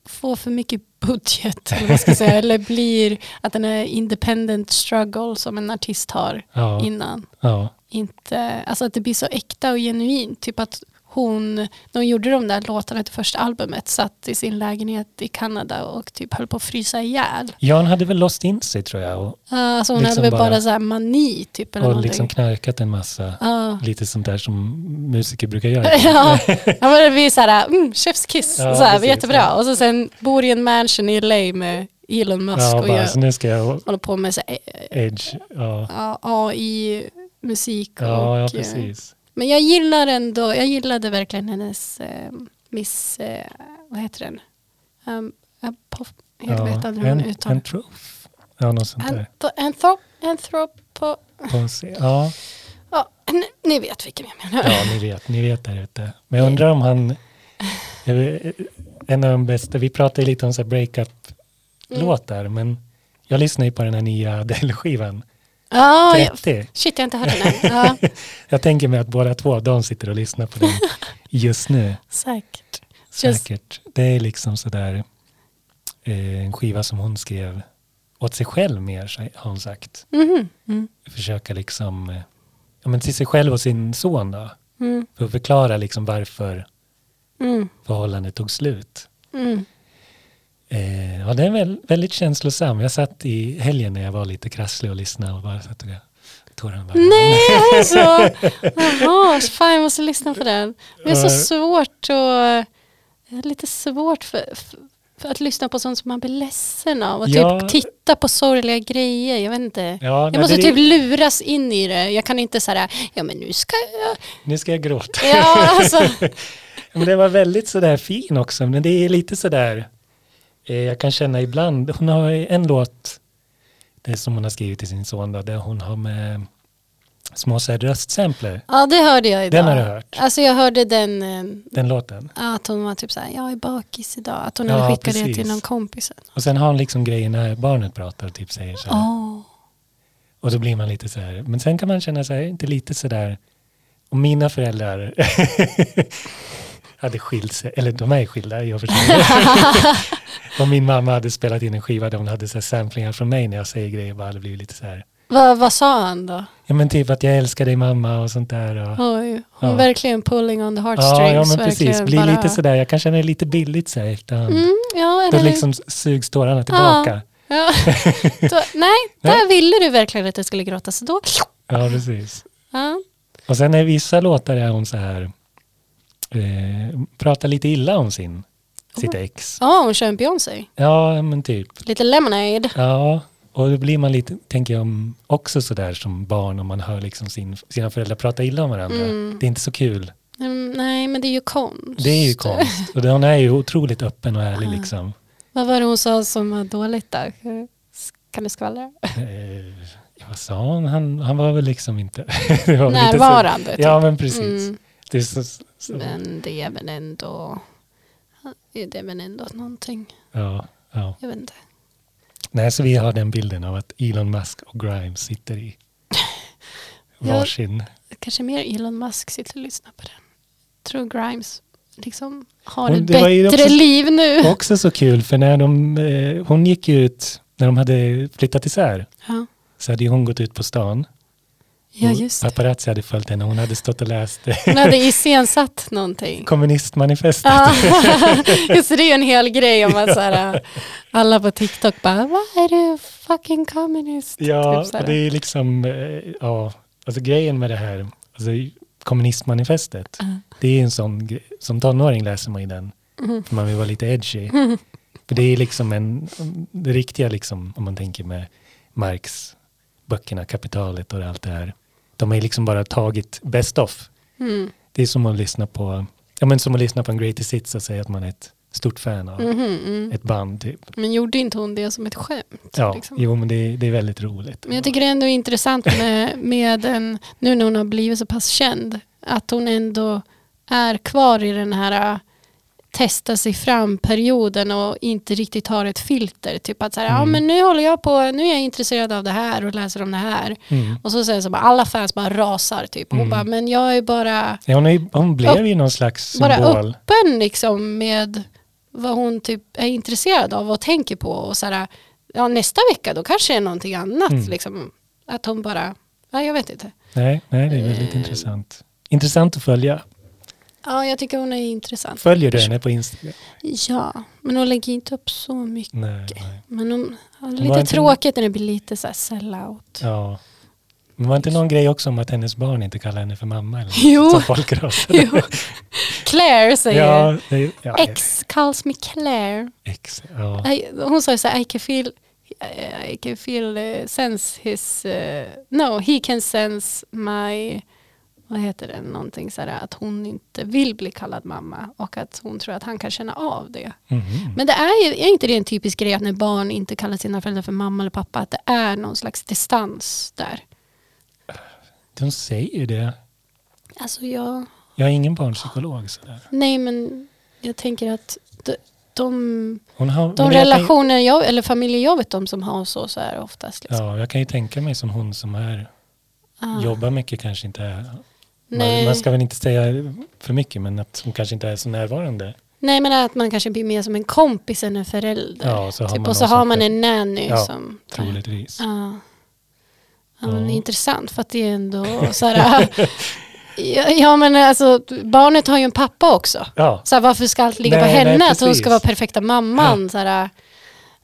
[SPEAKER 1] får för mycket budget eller, vad ska jag säga, eller blir att den är independent struggle som en artist har
[SPEAKER 2] Ja,
[SPEAKER 1] innan.
[SPEAKER 2] ja,
[SPEAKER 1] Inte, alltså att det blir så äkta och genuint. Typ att hon, när hon gjorde de där låtarna till första albumet, satt i sin lägenhet i Kanada och typ höll på att frysa ihjäl.
[SPEAKER 2] Jan hade väl låst in sig tror jag och,
[SPEAKER 1] Ja, Alltså hon
[SPEAKER 2] Liksom
[SPEAKER 1] hade väl bara,
[SPEAKER 2] bara-
[SPEAKER 1] så här mani typ eller
[SPEAKER 2] och
[SPEAKER 1] någonting. Ah.
[SPEAKER 2] liksom knarkat en massa.
[SPEAKER 1] Ja.
[SPEAKER 2] Lite sånt där som musiker brukar göra.
[SPEAKER 1] ja, ja men det blir så här, mm, chef's kiss,
[SPEAKER 2] Ja,
[SPEAKER 1] så här,
[SPEAKER 2] precis,
[SPEAKER 1] jättebra.
[SPEAKER 2] ja.
[SPEAKER 1] Och så sen bor i en mansion i LA med Elon Musk
[SPEAKER 2] Ja,
[SPEAKER 1] och
[SPEAKER 2] bara,
[SPEAKER 1] jag
[SPEAKER 2] så nu ska jag
[SPEAKER 1] håller på med så här, eh,
[SPEAKER 2] edge. Ja,
[SPEAKER 1] ja, AI-musik.
[SPEAKER 2] ja, ja
[SPEAKER 1] och, eh,
[SPEAKER 2] precis.
[SPEAKER 1] Men jag gillar ändå, jag gillade verkligen hennes eh, Miss, eh, vad heter den? Um, apof,
[SPEAKER 2] Ja,
[SPEAKER 1] helvete aldrig hur hon uttalar
[SPEAKER 2] Anthrof. Ja, något sånt där.
[SPEAKER 1] Anth- anthrop, anthropo,
[SPEAKER 2] På se- Ja,
[SPEAKER 1] ja, ni, ni vet vilken jag menar.
[SPEAKER 2] ja, ni vet, ni vet där ute. Men jag undrar om han, jag vet- en av de bästa, vi pratade ju lite om så här breakup-låtar,
[SPEAKER 1] Mm.
[SPEAKER 2] men jag lyssnar ju på den här nya Adele-skivan.
[SPEAKER 1] Ja, jag,
[SPEAKER 2] 30.
[SPEAKER 1] shit jag har inte hört den än. Ja.
[SPEAKER 2] Jag tänker mig att båda två, de sitter och lyssnar på den just nu.
[SPEAKER 1] Säkert. Just,
[SPEAKER 2] Säkert. Det är liksom sådär eh, en skiva som hon skrev åt sig själv mer, så- har hon sagt.
[SPEAKER 1] Mhm. mm,
[SPEAKER 2] Försöka liksom, eh, ja men till sig själv och sin son då.
[SPEAKER 1] mm,
[SPEAKER 2] För att förklara liksom varför
[SPEAKER 1] mm,
[SPEAKER 2] förhållandet tog slut.
[SPEAKER 1] mm.
[SPEAKER 2] Eh, ja, den är väl, väldigt känslosam. Jag satt i helgen när jag var lite krasslig och lyssnade och bara satt och tårarna bara
[SPEAKER 1] Nej, är det så? Jaha, fan jag måste lyssna på den. Det är så svårt och jag har lite svårt för, för att lyssna på sånt som man blir ledsen av och
[SPEAKER 2] Ja.
[SPEAKER 1] typ titta på sorgliga grejer. Jag vet inte.
[SPEAKER 2] Ja,
[SPEAKER 1] jag
[SPEAKER 2] nej,
[SPEAKER 1] måste
[SPEAKER 2] det-
[SPEAKER 1] typ luras in i det. Jag kan inte säga ja men nu ska jag...
[SPEAKER 2] Nu ska jag gråta.
[SPEAKER 1] Ja, alltså.
[SPEAKER 2] Men det var väldigt sådär fin också, men det är lite sådär, eh, jag kan känna ibland, hon har ju en låt, det är som hon har skrivit till sin son då, där hon har med små såhär röstsampler,
[SPEAKER 1] Ja, det hörde jag idag.
[SPEAKER 2] Den har du hört?
[SPEAKER 1] Alltså jag hörde den, eh,
[SPEAKER 2] den låten.
[SPEAKER 1] att hon var typ såhär, jag är bakis idag. Att hon
[SPEAKER 2] Ja,
[SPEAKER 1] hade skickat det
[SPEAKER 2] precis.
[SPEAKER 1] till någon kompis.
[SPEAKER 2] Och sen har hon liksom grejer när barnet pratar och typ säger så här.
[SPEAKER 1] Åh.
[SPEAKER 2] Och då blir man lite så här, men sen kan man känna sig inte lite så där, och mina föräldrar hade skilt sig, eller de är skilda, jag förstår. och min mamma hade spelat in en skiva där hon hade så här samplingar från mig när jag säger grejer, bara hade blivit lite så här,
[SPEAKER 1] Vad, vad sa han då?
[SPEAKER 2] Ja men typ att jag älskar dig mamma och sånt där. Och,
[SPEAKER 1] Oj, hon
[SPEAKER 2] Ja.
[SPEAKER 1] verkligen pulling on the heartstrings.
[SPEAKER 2] ja, ja men precis,
[SPEAKER 1] verkligen
[SPEAKER 2] bli
[SPEAKER 1] bara-
[SPEAKER 2] lite sådär, jag kan känna det lite billigt så här i efterhand.
[SPEAKER 1] Mm, ja,
[SPEAKER 2] Då
[SPEAKER 1] eller
[SPEAKER 2] liksom sugs tårarna tillbaka.
[SPEAKER 1] Ja. Då, nej, där ville du verkligen att jag skulle gråta så då...
[SPEAKER 2] Ja precis.
[SPEAKER 1] Ja.
[SPEAKER 2] Och sen är vissa låtar där hon så här eh, pratar lite illa om sin, sitt ex.
[SPEAKER 1] Ja, hon kör en Beyoncé.
[SPEAKER 2] Ja men typ.
[SPEAKER 1] Lite Lemonade.
[SPEAKER 2] Ja, och då blir man lite, tänker jag, också sådär som barn om man hör liksom sin, sina föräldrar prata illa om varandra.
[SPEAKER 1] Mm.
[SPEAKER 2] Det är inte så kul.
[SPEAKER 1] Mm, nej, men det är ju konst.
[SPEAKER 2] Det är ju konst. Och det- hon är ju otroligt öppen och
[SPEAKER 1] Ah.
[SPEAKER 2] ärlig liksom.
[SPEAKER 1] Vad var det hon sa som var dåligt där? Kan du skvallra?
[SPEAKER 2] Eh, vad sa hon? Han, han var väl liksom inte... det var väl inte så-
[SPEAKER 1] Närvarande. typ.
[SPEAKER 2] Ja, men precis.
[SPEAKER 1] Mm,
[SPEAKER 2] Det är så, så,
[SPEAKER 1] men det är väl ändå... Det är väl ändå någonting.
[SPEAKER 2] ja, ja.
[SPEAKER 1] Jag vet inte.
[SPEAKER 2] Nej, så vi har den bilden av att Elon Musk och Grimes sitter i
[SPEAKER 1] Ja.
[SPEAKER 2] varsin...
[SPEAKER 1] Kanske mer Elon Musk sitter och lyssnar på den. Tror Grimes liksom har
[SPEAKER 2] Men
[SPEAKER 1] ett
[SPEAKER 2] det var ju
[SPEAKER 1] bättre
[SPEAKER 2] också-
[SPEAKER 1] liv nu.
[SPEAKER 2] Också så kul, för när de, eh, hon gick ju ut, när de hade flyttat isär,
[SPEAKER 1] Ja,
[SPEAKER 2] så hade ju hon gått ut på stan.
[SPEAKER 1] ja
[SPEAKER 2] Och
[SPEAKER 1] just det.
[SPEAKER 2] Paparazzi hade följt henne, hon hade stått och läst eh,
[SPEAKER 1] Hon hade iscensatt någonting.
[SPEAKER 2] kommunistmanifestet.
[SPEAKER 1] Ja, just det, det är ju en hel grej om att så här, alla på TikTok bara, vad är du fucking kommunist?
[SPEAKER 2] Ja,
[SPEAKER 1] Typ så här.
[SPEAKER 2] och det är liksom, eh, ja, alltså grejen med det här, alltså kommunistmanifestet,
[SPEAKER 1] Ja.
[SPEAKER 2] det är en sån gre- som tonåring läser man ju den,
[SPEAKER 1] Mm-hmm.
[SPEAKER 2] för man vill vara lite edgy. För det är liksom en, det riktiga liksom, om man tänker med Marx, böckerna, kapitalet och allt det här, de har ju liksom bara tagit best of.
[SPEAKER 1] Mm.
[SPEAKER 2] Det är som att lyssna på, ja men som att lyssna på en greatest hits och säga att man är ett stort fan av
[SPEAKER 1] Mhm, mm.
[SPEAKER 2] ett band. Typ.
[SPEAKER 1] Men gjorde inte hon det som ett skämt?
[SPEAKER 2] Ja,
[SPEAKER 1] liksom?
[SPEAKER 2] jo men det, det är väldigt roligt.
[SPEAKER 1] Men jag tycker det är ändå intressant med, med en, nu när hon har blivit så pass känd, att hon ändå är kvar i den här äh, testa sig fram-perioden och inte riktigt har ett filter. Typ att så här, ja
[SPEAKER 2] Mm.
[SPEAKER 1] men nu håller jag på, nu är jag intresserad av det här och läser om det här.
[SPEAKER 2] Mm.
[SPEAKER 1] Och så säger så bara, alla fans bara rasar typ. Hon
[SPEAKER 2] Mm.
[SPEAKER 1] bara, men jag är bara
[SPEAKER 2] Ja, hon, är, ju- hon blev ju någon slags
[SPEAKER 1] bara
[SPEAKER 2] symbol.
[SPEAKER 1] öppen liksom med vad hon typ är intresserad av och tänker på och så här, ja nästa vecka då kanske det är någonting annat
[SPEAKER 2] Mm.
[SPEAKER 1] liksom. Att hon bara, ja jag vet inte.
[SPEAKER 2] Nej, nej, det är väldigt
[SPEAKER 1] Eh.
[SPEAKER 2] intressant. Intressant att följa.
[SPEAKER 1] Ja jag tycker hon är intressant.
[SPEAKER 2] Följer du henne på Instagram?
[SPEAKER 1] Ja, men hon lägger inte upp så mycket.
[SPEAKER 2] Nej, nej.
[SPEAKER 1] Men hon, ja,
[SPEAKER 2] var
[SPEAKER 1] lite
[SPEAKER 2] inte-
[SPEAKER 1] tråkigt när det blir lite så här sellout.
[SPEAKER 2] Ja. Men var inte någon grej också om att hennes barn inte kallar henne för mamma? Eller något
[SPEAKER 1] Jo.
[SPEAKER 2] Som folk rasade.
[SPEAKER 1] Jo. Claire säger,
[SPEAKER 2] ja, det, ja,
[SPEAKER 1] X calls me Claire.
[SPEAKER 2] Ex. Ja.
[SPEAKER 1] I, hon sa ju så här, I can feel, I, I can feel eh, sense his, eh, no, he can sense my, vad heter det, någonting så här, att hon inte vill bli kallad mamma och att hon tror att han kan känna av det.
[SPEAKER 2] Mhm.
[SPEAKER 1] Men det är ju, är inte det en typisk grej att när barn inte kallar sina föräldrar för mamma eller pappa, att det är någon slags distans där?
[SPEAKER 2] De säger ju det.
[SPEAKER 1] Alltså jag,
[SPEAKER 2] Jag är ingen barnpsykolog. Sådär.
[SPEAKER 1] nej men jag tänker att de, de,
[SPEAKER 2] Hon har,
[SPEAKER 1] de
[SPEAKER 2] men jag kan-
[SPEAKER 1] relationer jag, eller familjer jag vet om som har så, så är det oftast. Liksom.
[SPEAKER 2] Ja, jag kan ju tänka mig som hon som är,
[SPEAKER 1] Ah,
[SPEAKER 2] jobbar mycket kanske inte är, man,
[SPEAKER 1] nej.
[SPEAKER 2] man ska väl inte säga för mycket men att hon kanske inte är så närvarande.
[SPEAKER 1] Nej men att man kanske blir mer som en kompis än en förälder.
[SPEAKER 2] Ja, så har
[SPEAKER 1] typ,
[SPEAKER 2] man
[SPEAKER 1] och så
[SPEAKER 2] någon
[SPEAKER 1] har
[SPEAKER 2] sorts-
[SPEAKER 1] man en nanny
[SPEAKER 2] Ja,
[SPEAKER 1] som...
[SPEAKER 2] Troligtvis.
[SPEAKER 1] Ja. Ja, men
[SPEAKER 2] Ja.
[SPEAKER 1] det är intressant för att det är ändå så här... ja, ja men alltså barnet har ju en pappa också.
[SPEAKER 2] Ja,
[SPEAKER 1] Så här, varför ska allt ligga på
[SPEAKER 2] Nej, nej,
[SPEAKER 1] henne? att hon
[SPEAKER 2] precis.
[SPEAKER 1] ska vara perfekta mamman. Så här,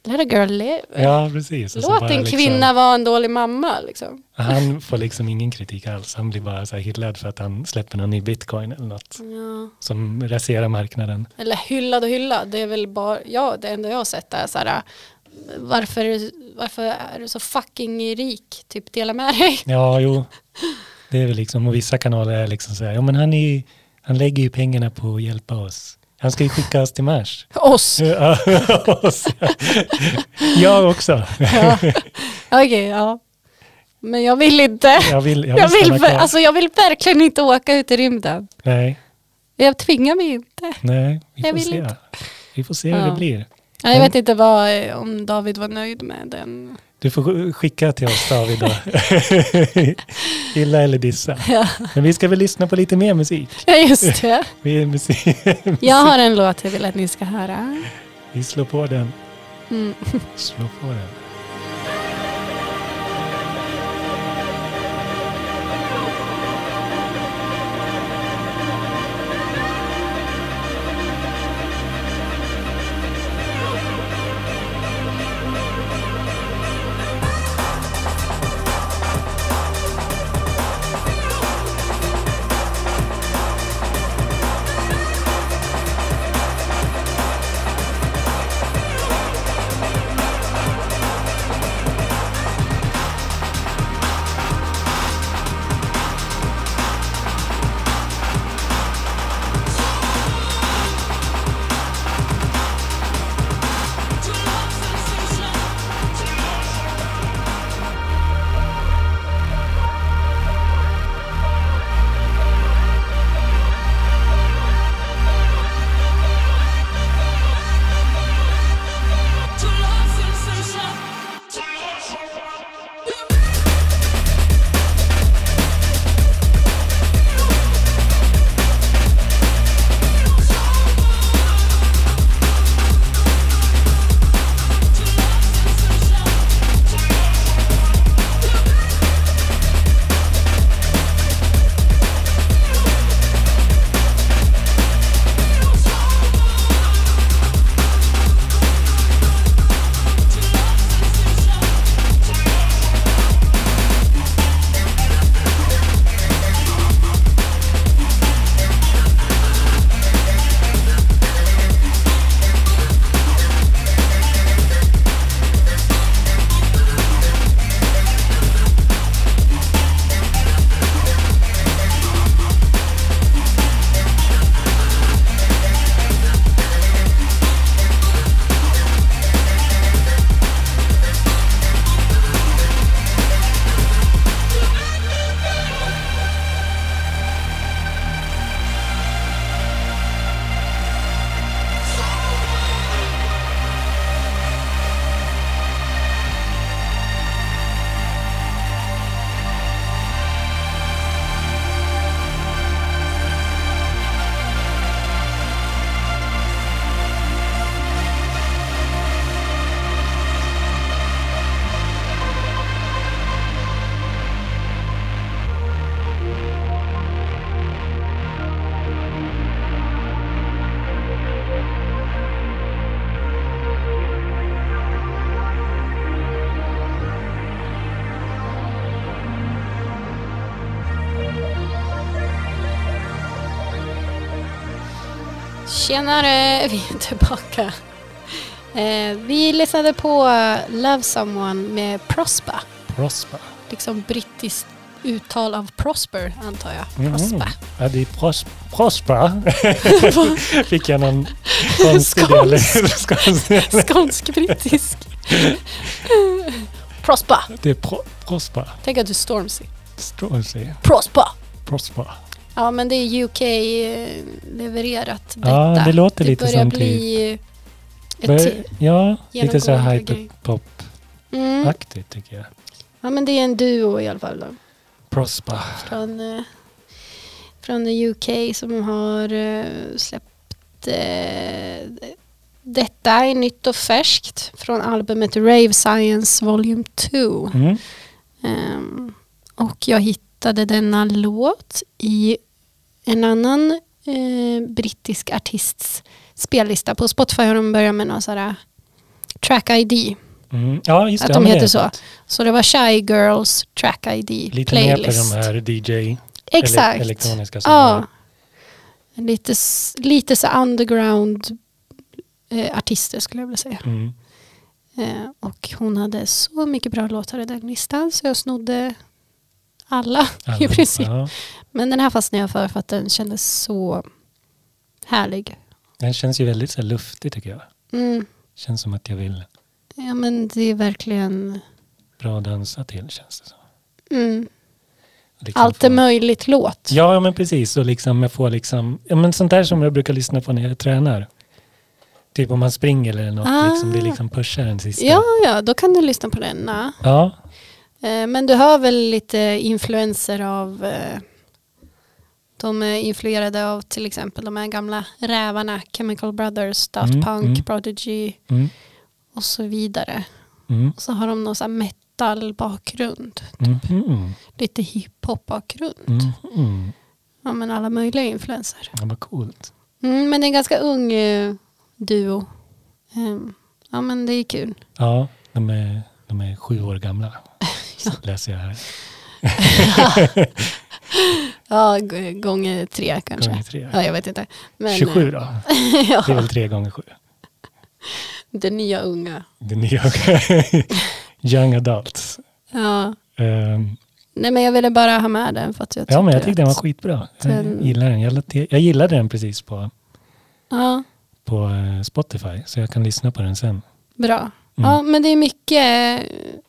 [SPEAKER 1] let a girl live.
[SPEAKER 2] ja precis. Och så
[SPEAKER 1] Låt
[SPEAKER 2] bara
[SPEAKER 1] en
[SPEAKER 2] liksom-
[SPEAKER 1] kvinna vara en dålig mamma. Liksom.
[SPEAKER 2] Han får liksom ingen kritik alls. Han blir bara så här hyllad för att han släpper någon ny bitcoin eller något
[SPEAKER 1] Ja.
[SPEAKER 2] som raserar marknaden.
[SPEAKER 1] Eller hyllad och hyllad, det är väl bara, ja det enda jag har sett är så här, varför, är du- varför är du så fucking rik, typ dela med dig.
[SPEAKER 2] Ja, jo. Det är väl liksom, och vissa kanaler är liksom så här, ja men han, är ju, han lägger ju pengarna på att hjälpa oss. Han ska ju skicka oss till Mars.
[SPEAKER 1] Oss.
[SPEAKER 2] Ja, oss. jag också.
[SPEAKER 1] Ja. Okej, ja. Men jag vill inte.
[SPEAKER 2] Jag vill, jag vill,
[SPEAKER 1] Jag vill,
[SPEAKER 2] stanna
[SPEAKER 1] ver-
[SPEAKER 2] kvar.
[SPEAKER 1] alltså, jag vill verkligen inte åka ut i rymden.
[SPEAKER 2] Nej,
[SPEAKER 1] Jag tvingar mig inte.
[SPEAKER 2] nej, vi
[SPEAKER 1] Jag
[SPEAKER 2] får
[SPEAKER 1] vill
[SPEAKER 2] se.
[SPEAKER 1] inte.
[SPEAKER 2] Vi får se hur
[SPEAKER 1] Ja.
[SPEAKER 2] det blir.
[SPEAKER 1] Nej, Jag
[SPEAKER 2] Mm.
[SPEAKER 1] vet inte vad, eh, om David var nöjd med den.
[SPEAKER 2] Du får skicka till oss David då. Gilla eller dissa.
[SPEAKER 1] Ja,
[SPEAKER 2] Men vi ska väl lyssna på lite mer musik.
[SPEAKER 1] ja, just det.
[SPEAKER 2] Vi, är musik.
[SPEAKER 1] Jag har en låt jag vill att ni ska höra.
[SPEAKER 2] vi slår på den.
[SPEAKER 1] Mm.
[SPEAKER 2] Slå på den.
[SPEAKER 1] Tjenare, vi är tillbaka. Eh, vi lyssnade på Love Someone med Prospa.
[SPEAKER 2] Prosper.
[SPEAKER 1] Liksom brittiskt uttal av Prosper antar jag.
[SPEAKER 2] Mhm.
[SPEAKER 1] Prospa.
[SPEAKER 2] Ja, det är pros Prosper. Fick jag någon konstig
[SPEAKER 1] Skånsk.
[SPEAKER 2] dialekt. Skånsk.
[SPEAKER 1] Skånsk-brittisk. Prospa.
[SPEAKER 2] Det är pro Prosper.
[SPEAKER 1] Tänk att du är Stormzy.
[SPEAKER 2] Stormzy.
[SPEAKER 1] Prospa.
[SPEAKER 2] Prosper.
[SPEAKER 1] Ja men det är eh, UK-levererat detta.
[SPEAKER 2] Ja, det låter lite
[SPEAKER 1] börjar
[SPEAKER 2] som typ...
[SPEAKER 1] bli
[SPEAKER 2] Bör-
[SPEAKER 1] ett ti-
[SPEAKER 2] Ja, lite så här
[SPEAKER 1] genomgående grej.
[SPEAKER 2] hyperpop-aktigt
[SPEAKER 1] mm.
[SPEAKER 2] tycker jag.
[SPEAKER 1] Ja men det är en duo i alla fall då.
[SPEAKER 2] Prosper.
[SPEAKER 1] från, eh, från UK som har eh, släppt eh, detta är nytt och färskt från albumet Rave Science Volume 2.
[SPEAKER 2] Mm.
[SPEAKER 1] Ehm, och jag hittade denna låt i en annan eh, brittisk artists spellista. På Spotify har de börjat med någon sån här track ID.
[SPEAKER 2] Mm. Ja, just
[SPEAKER 1] Att
[SPEAKER 2] det.
[SPEAKER 1] de
[SPEAKER 2] ja, men
[SPEAKER 1] heter
[SPEAKER 2] det är
[SPEAKER 1] så.
[SPEAKER 2] sant.
[SPEAKER 1] Så det var Shy Girls track ID
[SPEAKER 2] Lite
[SPEAKER 1] playlist.
[SPEAKER 2] mer på de här DJ...
[SPEAKER 1] Exakt.
[SPEAKER 2] Ele elektroniska som
[SPEAKER 1] Ja. Lite, s- lite så underground eh, artister skulle jag vilja säga.
[SPEAKER 2] är- Mm.
[SPEAKER 1] Eh, och hon hade så mycket bra låtar i den listan så jag snodde alla i
[SPEAKER 2] Alla-
[SPEAKER 1] princip.
[SPEAKER 2] Ja.
[SPEAKER 1] Men den här fastnade jag för för att den kändes så härlig.
[SPEAKER 2] Den känns ju väldigt så här luftig tycker jag.
[SPEAKER 1] Mm.
[SPEAKER 2] Känns som att jag vill
[SPEAKER 1] Ja men det är verkligen
[SPEAKER 2] bra dansa till känns det som.
[SPEAKER 1] mm,
[SPEAKER 2] Liksom
[SPEAKER 1] allt är
[SPEAKER 2] få-
[SPEAKER 1] möjligt låt.
[SPEAKER 2] Ja, ja, men precis. Och liksom jag får liksom, ja, men sånt där som jag brukar lyssna på när jag tränar. Typ om man springer eller något,
[SPEAKER 1] Ah.
[SPEAKER 2] liksom, det liksom pushar en sista.
[SPEAKER 1] Ja, ja, då kan du lyssna på denna.
[SPEAKER 2] ja.
[SPEAKER 1] Eh, Men du hör väl lite influenser av eh, de är influerade av till exempel de här gamla rävarna, Chemical Brothers, Daft
[SPEAKER 2] Mm,
[SPEAKER 1] Punk,
[SPEAKER 2] mm.
[SPEAKER 1] Prodigy
[SPEAKER 2] Mm.
[SPEAKER 1] och så vidare.
[SPEAKER 2] Mm.
[SPEAKER 1] Och så har de någon sån här metal-bakgrund,
[SPEAKER 2] Mm. Mm.
[SPEAKER 1] lite hiphop-bakgrund.
[SPEAKER 2] Mm. Mm.
[SPEAKER 1] Ja men alla möjliga influenser.
[SPEAKER 2] Ja, vad coolt.
[SPEAKER 1] Mm, men det är en ganska ung eh, duo. Ehm, ja men det är kul.
[SPEAKER 2] Ja, de är, de är sju år gamla. Läser jag här.
[SPEAKER 1] Ja, g- gånger tre kanske.
[SPEAKER 2] Gånger tre.
[SPEAKER 1] Ja, jag vet inte. Men, eh,
[SPEAKER 2] 27 då?
[SPEAKER 1] ja,
[SPEAKER 2] Det är väl tre gånger sju?
[SPEAKER 1] det nya unga.
[SPEAKER 2] Det nya. Young adults.
[SPEAKER 1] Ja.
[SPEAKER 2] Ehm,
[SPEAKER 1] Nej men jag ville bara ha med den för att jag
[SPEAKER 2] ja, men jag
[SPEAKER 1] tycker
[SPEAKER 2] tyckte den var
[SPEAKER 1] att-
[SPEAKER 2] skitbra.
[SPEAKER 1] den-
[SPEAKER 2] Jag gillar den. Jag, lade- jag gillade den precis på,
[SPEAKER 1] Ja,
[SPEAKER 2] på eh, Spotify, så jag kan lyssna på den sen. Mm.
[SPEAKER 1] bra. Ja men det är mycket,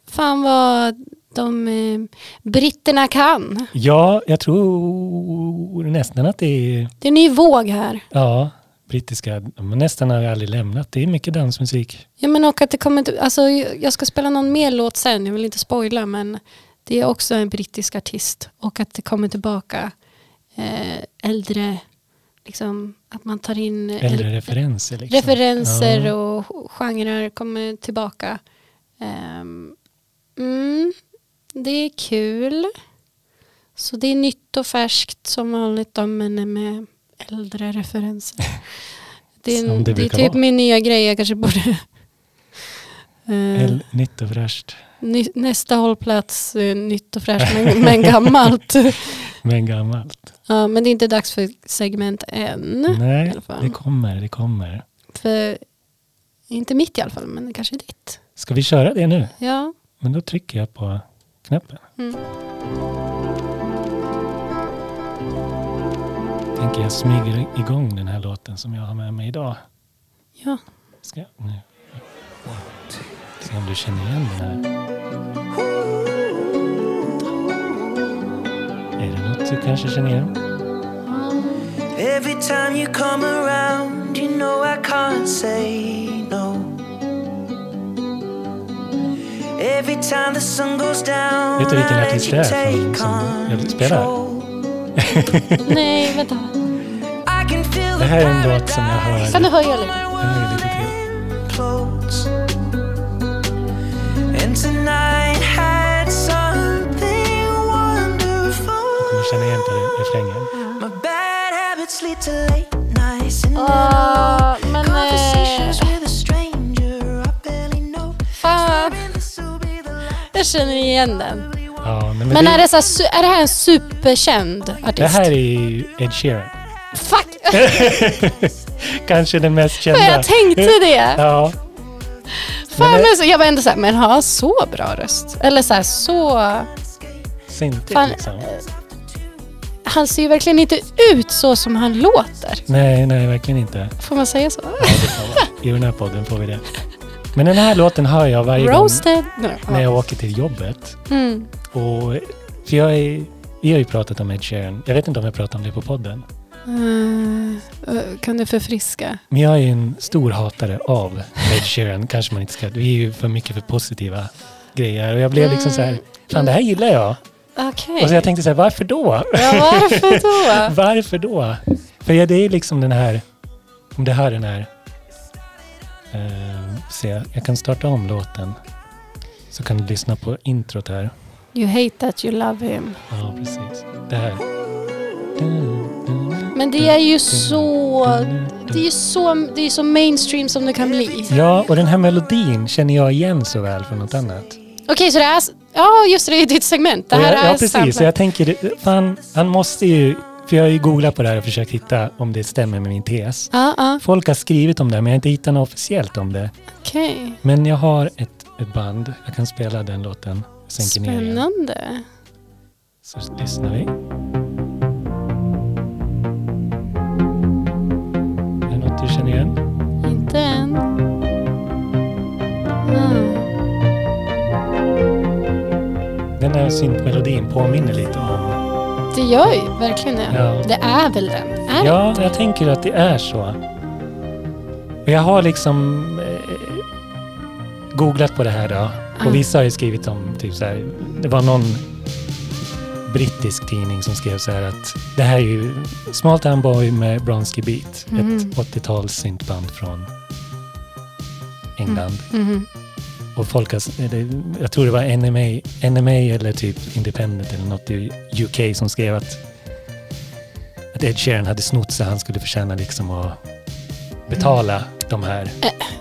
[SPEAKER 1] fan vad de eh, britterna kan.
[SPEAKER 2] Ja, jag tror nästan att det är
[SPEAKER 1] Det är en ny våg här.
[SPEAKER 2] ja, brittiska, men nästan har jag aldrig lämnat. Det är mycket dansmusik.
[SPEAKER 1] Ja men och att det kommer inte, alltså jag ska spela någon mer låt sen, jag vill inte spoila men det är också en brittisk artist och att det kommer tillbaka eh, äldre, liksom att man tar in
[SPEAKER 2] Eller referenser. Liksom.
[SPEAKER 1] referenser
[SPEAKER 2] Ja.
[SPEAKER 1] och genrer kommer tillbaka. Ehm, mm, det är kul. Så det är nytt och färskt som vanligt då, men med äldre referenser. Det är,
[SPEAKER 2] Som
[SPEAKER 1] det
[SPEAKER 2] det
[SPEAKER 1] är
[SPEAKER 2] brukar
[SPEAKER 1] typ
[SPEAKER 2] vara.
[SPEAKER 1] min nya grej, jag kanske borde... Eh,
[SPEAKER 2] El, nytt och fräscht.
[SPEAKER 1] ny, nästa hållplats, eh, nytt och fräscht men, men gammalt.
[SPEAKER 2] Men gammalt.
[SPEAKER 1] ja, men det är inte dags för segment än. Mm, i
[SPEAKER 2] Nej,
[SPEAKER 1] alla fall.
[SPEAKER 2] det kommer, det kommer.
[SPEAKER 1] För, inte mitt i alla fall, men kanske ditt.
[SPEAKER 2] Ska vi köra det nu?
[SPEAKER 1] Ja.
[SPEAKER 2] Men då trycker jag på knappen.
[SPEAKER 1] Mm.
[SPEAKER 2] Tänker jag smyger igång den här låten som jag har med mig idag.
[SPEAKER 1] Ja.
[SPEAKER 2] Ska jag, nu. Se om du känner igen den här. Är det något du kanske känner igen?
[SPEAKER 3] Every time you come around, you know I can't say no. Every time the sun goes down,
[SPEAKER 2] Vet du vilken
[SPEAKER 3] I let
[SPEAKER 2] artist
[SPEAKER 3] you
[SPEAKER 2] det är
[SPEAKER 3] take
[SPEAKER 2] som- som jag spelar?
[SPEAKER 3] control.
[SPEAKER 1] Nej, vänta.
[SPEAKER 3] I can feel
[SPEAKER 2] Det
[SPEAKER 3] the
[SPEAKER 2] här är en låt som jag hör.
[SPEAKER 1] Kan du höja lite?
[SPEAKER 2] Jag hör ju lite till.
[SPEAKER 3] clothes. And tonight had something
[SPEAKER 2] Du känner igen på
[SPEAKER 3] wonderful.
[SPEAKER 2] re- refrängen.
[SPEAKER 3] My bad habits lead to late nights and
[SPEAKER 1] men... eh,
[SPEAKER 3] Conversations with a stranger I barely know.
[SPEAKER 1] fan,
[SPEAKER 3] This will be the last
[SPEAKER 1] jag känner igen den.
[SPEAKER 2] Ja, nej, men
[SPEAKER 1] Men
[SPEAKER 2] det,
[SPEAKER 1] är det, så här, su- är det här en superkänd artist?
[SPEAKER 2] det här är ju Ed Sheeran.
[SPEAKER 1] Fuck!
[SPEAKER 2] Kanske den mest kända.
[SPEAKER 1] Men jag typ? tänkte det.
[SPEAKER 2] Ja.
[SPEAKER 1] Fan, men så, jag var ändå såhär, men har han så bra röst? Eller såhär så...
[SPEAKER 2] Syntigt
[SPEAKER 1] Fan. eh,
[SPEAKER 2] liksom.
[SPEAKER 1] Han ser ju verkligen inte ut så som han låter.
[SPEAKER 2] Nej, nej, verkligen inte.
[SPEAKER 1] Får man säga så?
[SPEAKER 2] Ja, det får man. I den här podden får vi det. Men den här låten hör jag varje
[SPEAKER 1] Roasted.
[SPEAKER 2] gång när jag åker till jobbet.
[SPEAKER 1] Mm.
[SPEAKER 2] Och, för jag är, vi har ju pratat om Ed Sheeran. Jag vet inte om jag pratar om det på podden.
[SPEAKER 1] Eh, eh, kan du förfriska?
[SPEAKER 2] Men jag är en stor hatare av Ed Sheeran. Kanske man inte ska... Vi är ju för mycket för positiva grejer. Och jag blev liksom så här, fan det här gillar jag.
[SPEAKER 1] Okej.
[SPEAKER 2] Och så jag tänkte så här, varför då?
[SPEAKER 1] Ja, varför då?
[SPEAKER 2] Varför då? För ja, det är liksom den här, om det här är den här, eh, se, jag kan starta om låten. Så kan du lyssna på introt här.
[SPEAKER 1] You hate that you love him.
[SPEAKER 2] Ja, precis. Det här.
[SPEAKER 1] Men det är ju så... Det är ju så, det är så mainstream som det kan bli.
[SPEAKER 2] Ja, och den här melodin känner jag igen så väl från något annat.
[SPEAKER 1] Okej, så det är... s- Ja, just det, det är ditt segment. Det här
[SPEAKER 2] Och jag,
[SPEAKER 1] är
[SPEAKER 2] ja, precis. Så
[SPEAKER 1] samplat.
[SPEAKER 2] jag tänker, fan, han måste ju, för jag har ju googlat på det här och försökt hitta om det stämmer med min tes.
[SPEAKER 1] Ja, ja,
[SPEAKER 2] Folk har skrivit om det, men jag har inte hittat något officiellt om det.
[SPEAKER 1] okej.
[SPEAKER 2] Men jag har ett, ett band. Jag kan spela den låten. Jag Sänker ner igen.
[SPEAKER 1] Spännande.
[SPEAKER 2] Så lyssnar vi. Är det något du känner igen?
[SPEAKER 1] Inte än. Mm.
[SPEAKER 2] Den här syntmelodin påminner lite om...
[SPEAKER 1] Det gör ju verkligen det.
[SPEAKER 2] Ja.
[SPEAKER 1] Det är väl den? Är det?
[SPEAKER 2] Ja, jag tänker att det är så. Och Jag har liksom eh, googlat på det här då.
[SPEAKER 1] Mm.
[SPEAKER 2] Och vissa har ju skrivit om typ så här. Det var någon brittisk tidning som skrev så här att det här är ju Small Town Boy med Bronski Beat.
[SPEAKER 1] Mhm.
[SPEAKER 2] Ett 80-tals syntband från England.
[SPEAKER 1] Mhm.
[SPEAKER 2] Och folk har, eller, jag tror det var NMA, NMA eller typ Independent eller något i UK som skrev att, att Ed Sheeran hade snott så han skulle förtjäna liksom att betala de här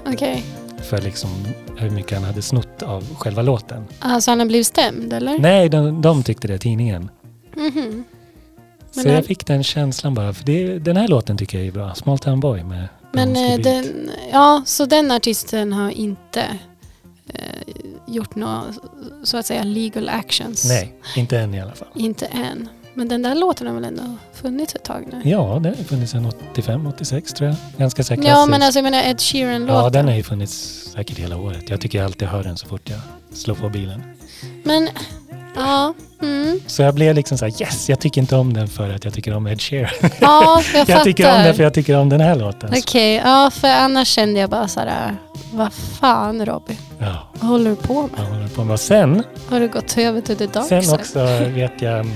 [SPEAKER 1] Okej.
[SPEAKER 2] för liksom hur mycket han hade snott av själva låten.
[SPEAKER 1] Alltså han har blivit stämd eller?
[SPEAKER 2] Nej, de, de tyckte det, tidningen.
[SPEAKER 1] Mhm. Men
[SPEAKER 2] så
[SPEAKER 1] han-
[SPEAKER 2] jag fick den känslan bara, för det, den här låten tycker jag är bra. Small Town Boy med
[SPEAKER 1] Men
[SPEAKER 2] Bronski Beat.
[SPEAKER 1] eh, den, ja, så den artisten har inte eh, gjort några så att säga legal actions?
[SPEAKER 2] Nej, inte än i alla fall.
[SPEAKER 1] Inte än. Men den där låten har väl ändå funnits ett tag nu?
[SPEAKER 2] Ja, den har funnits sedan 85, 86 tror jag. Ganska säkert.
[SPEAKER 1] Ja, men alltså jag menar Ed Sheeran-låten.
[SPEAKER 2] Ja, den har ju funnits säkert hela året. Jag tycker jag alltid hör den så fort jag slår på bilen.
[SPEAKER 1] Men, ja. Mm.
[SPEAKER 2] Så jag blev liksom så här, yes, jag tycker inte om den för att jag tycker om Ed Sheeran.
[SPEAKER 1] Ja, jag,
[SPEAKER 2] Jag,
[SPEAKER 1] fattar.
[SPEAKER 2] tycker om den för jag tycker om den här låten.
[SPEAKER 1] Okej, ja för annars kände jag bara sådär, vad fan Robin,
[SPEAKER 2] Ja,
[SPEAKER 1] vad håller du på med?
[SPEAKER 2] jag håller på med. Och sen,
[SPEAKER 1] Har du gått över till the dark
[SPEAKER 2] sen
[SPEAKER 1] side?
[SPEAKER 2] också vet jag, mm,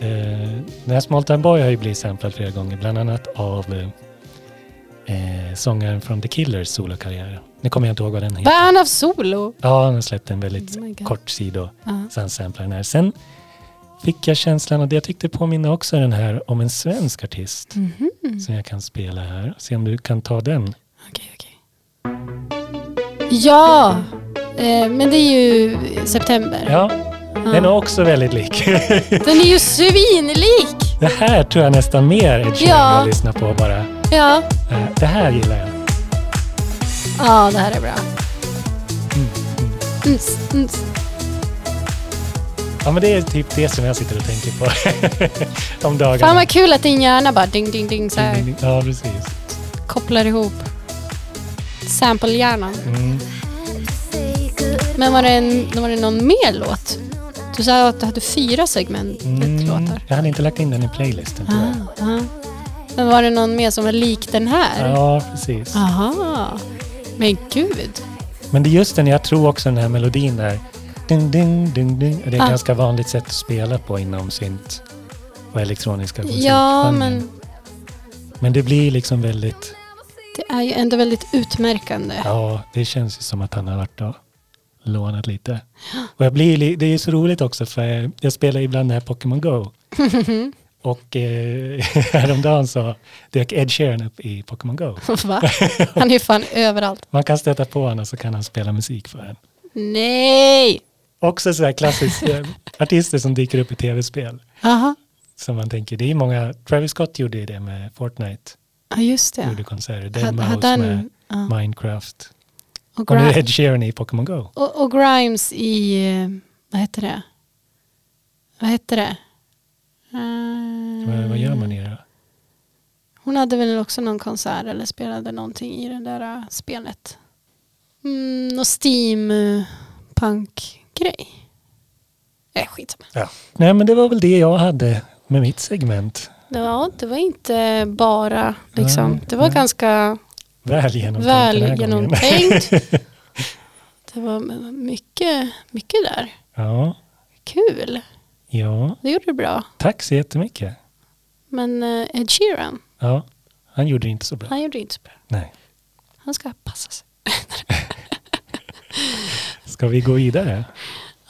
[SPEAKER 2] eh, den här Small Town Boy har ju blivit samplad flera gånger, bland annat av eh, eh, sångaren från The Killers solokarriär. Nu kommer jag inte ihåg vad den heter.
[SPEAKER 1] Band of Solo!
[SPEAKER 2] Ja, han har släppt en väldigt
[SPEAKER 1] Oh my God.
[SPEAKER 2] kort sido.
[SPEAKER 1] Ja.
[SPEAKER 2] Så han samplar den här. Sen fick jag känslan, och det jag tyckte påminner också den här om en svensk artist
[SPEAKER 1] Mhm.
[SPEAKER 2] som jag kan spela här. Se om du kan ta den.
[SPEAKER 1] Okej, okej. Ja! Eh, men det är ju september.
[SPEAKER 2] Ja,
[SPEAKER 1] Ja.
[SPEAKER 2] den är också väldigt lik.
[SPEAKER 1] Den är ju svinlik!
[SPEAKER 2] det här tror jag nästan mer Ed Sheeran
[SPEAKER 1] Ja.
[SPEAKER 2] jag lyssnar på bara.
[SPEAKER 1] Ja.
[SPEAKER 2] Eh, Det här gillar jag.
[SPEAKER 1] ja, det här är bra. Mm, mm.
[SPEAKER 2] Ja, men det är typ det som jag sitter och tänker på om dagarna. Mm,
[SPEAKER 1] Fan vad kul att din hjärna bara ding, ding, ding så här,
[SPEAKER 2] Ja, precis.
[SPEAKER 1] kopplar ihop samplehjärnan.
[SPEAKER 2] Mm.
[SPEAKER 1] Men var det, en, var det någon mer låt? Du sa att du hade fyra segment
[SPEAKER 2] Mm.
[SPEAKER 1] låtar.
[SPEAKER 2] Jag hade inte lagt in den i playlisten tror jag.
[SPEAKER 1] Ah, ah. Men var det någon mer som var lik den här?
[SPEAKER 2] Ja, precis.
[SPEAKER 1] Aha. Men gud.
[SPEAKER 2] Men det är just den, jag tror också den här melodin där. Ding, ding, ding, ding. Det är ett
[SPEAKER 1] Ah.
[SPEAKER 2] ganska vanligt sätt att spela på inom synt och elektroniska
[SPEAKER 1] Ja,
[SPEAKER 2] musikgenren.
[SPEAKER 1] men
[SPEAKER 2] Men det blir liksom väldigt,
[SPEAKER 1] det är ju ändå väldigt utmärkande.
[SPEAKER 2] ja, det känns ju som att han har varit och lånat lite. Och jag blir, li- det är ju så roligt också för jag spelar ibland det här Pokémon Go. Och eh, häromdagen så dök Ed Sheeran upp i Pokémon Go.
[SPEAKER 1] Va? Han är ju fan överallt.
[SPEAKER 2] Man kan stöta på honom och så kan han spela musik för en.
[SPEAKER 1] Nej!
[SPEAKER 2] Också så här klassiskt, eh, artister som dyker upp i tv-spel.
[SPEAKER 1] Aha.
[SPEAKER 2] som man tänker. Det är många, Travis Scott gjorde ju det med Fortnite.
[SPEAKER 1] Ja, just det.
[SPEAKER 2] gjorde konserter. Deadmau5
[SPEAKER 1] Hade- hade
[SPEAKER 2] med
[SPEAKER 1] han- ja.
[SPEAKER 2] Minecraft.
[SPEAKER 1] Och,
[SPEAKER 2] Och nu
[SPEAKER 1] Gri-
[SPEAKER 2] Ed Sheeran i Pokémon Go.
[SPEAKER 1] och, och Grimes i, eh, vad heter det? Vad heter det? Eh,
[SPEAKER 2] Vad, vad gör man i det då?
[SPEAKER 1] Hon hade väl också någon konsert eller spelade någonting i det där eh, spelet. Mm, någon steampunk-grej. Äh, skitsamma.
[SPEAKER 2] Nej men det var väl det jag hade med mitt segment.
[SPEAKER 1] Ja, det var inte bara liksom.
[SPEAKER 2] Nej,
[SPEAKER 1] det var
[SPEAKER 2] nej.
[SPEAKER 1] ganska
[SPEAKER 2] Väl genomtänkt den här
[SPEAKER 1] väl
[SPEAKER 2] gången.
[SPEAKER 1] genomtänkt. det var mycket, mycket där.
[SPEAKER 2] Ja,
[SPEAKER 1] Kul.
[SPEAKER 2] ja.
[SPEAKER 1] Det gjorde du bra.
[SPEAKER 2] Tack så jättemycket.
[SPEAKER 1] Men eh, Ed Sheeran,
[SPEAKER 2] Ja, han gjorde det inte så bra.
[SPEAKER 1] han gjorde inte så bra.
[SPEAKER 2] Nej.
[SPEAKER 1] Han ska passa sig.
[SPEAKER 2] Ska vi gå vidare?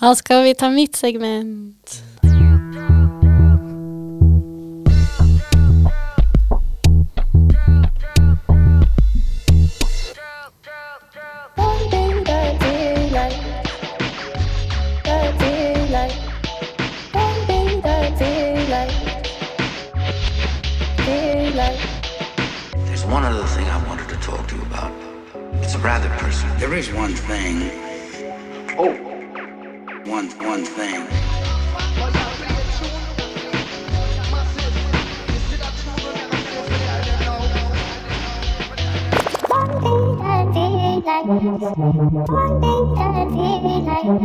[SPEAKER 1] Ja, ska vi ta mitt segment?
[SPEAKER 4] One thing that we like, that we like. One thing that we like, we like.
[SPEAKER 5] There's one other thing I wanted to talk to you about. It's rather personal.
[SPEAKER 6] There is one thing. Oh, one one thing.
[SPEAKER 4] One
[SPEAKER 5] Oh,
[SPEAKER 4] thing that we like. One thing that we like. One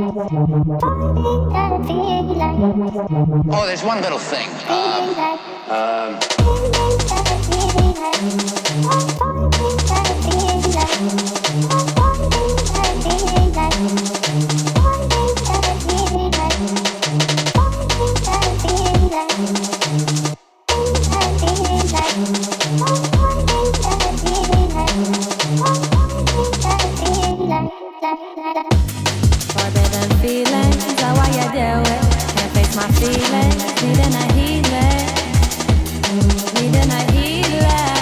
[SPEAKER 4] thing that we like.
[SPEAKER 5] Oh, there's one little thing. uh,
[SPEAKER 4] We like. One thing that we like. One thing that we like. One thing that we like. One thing that we like. One thing that we like. One thing that we like. Thank
[SPEAKER 7] Forbidden feelings are why you deal with. Can't face my feelings, needing a healing, needing a healing,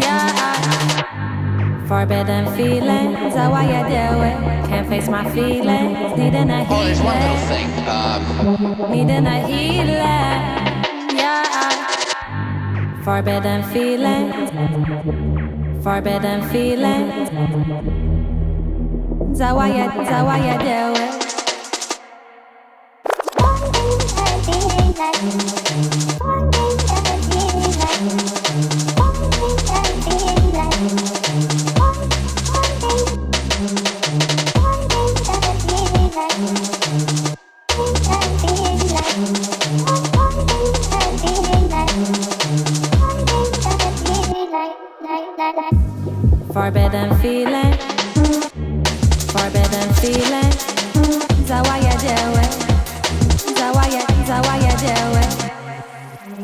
[SPEAKER 7] yeah. Forbidden feelings are why you deal with. Can't face my feelings, needing a
[SPEAKER 5] Oh, there's one little
[SPEAKER 7] healing,
[SPEAKER 5] thing. Um,
[SPEAKER 7] needing a healing, yeah. Forbidden feelings, forbidden feelings. Zawaya, Zawaya, deal with.
[SPEAKER 4] you.
[SPEAKER 7] Forbidden feeling. Forbidden feeling. Zawaya deal with. Zawaya, Zawaya deal with.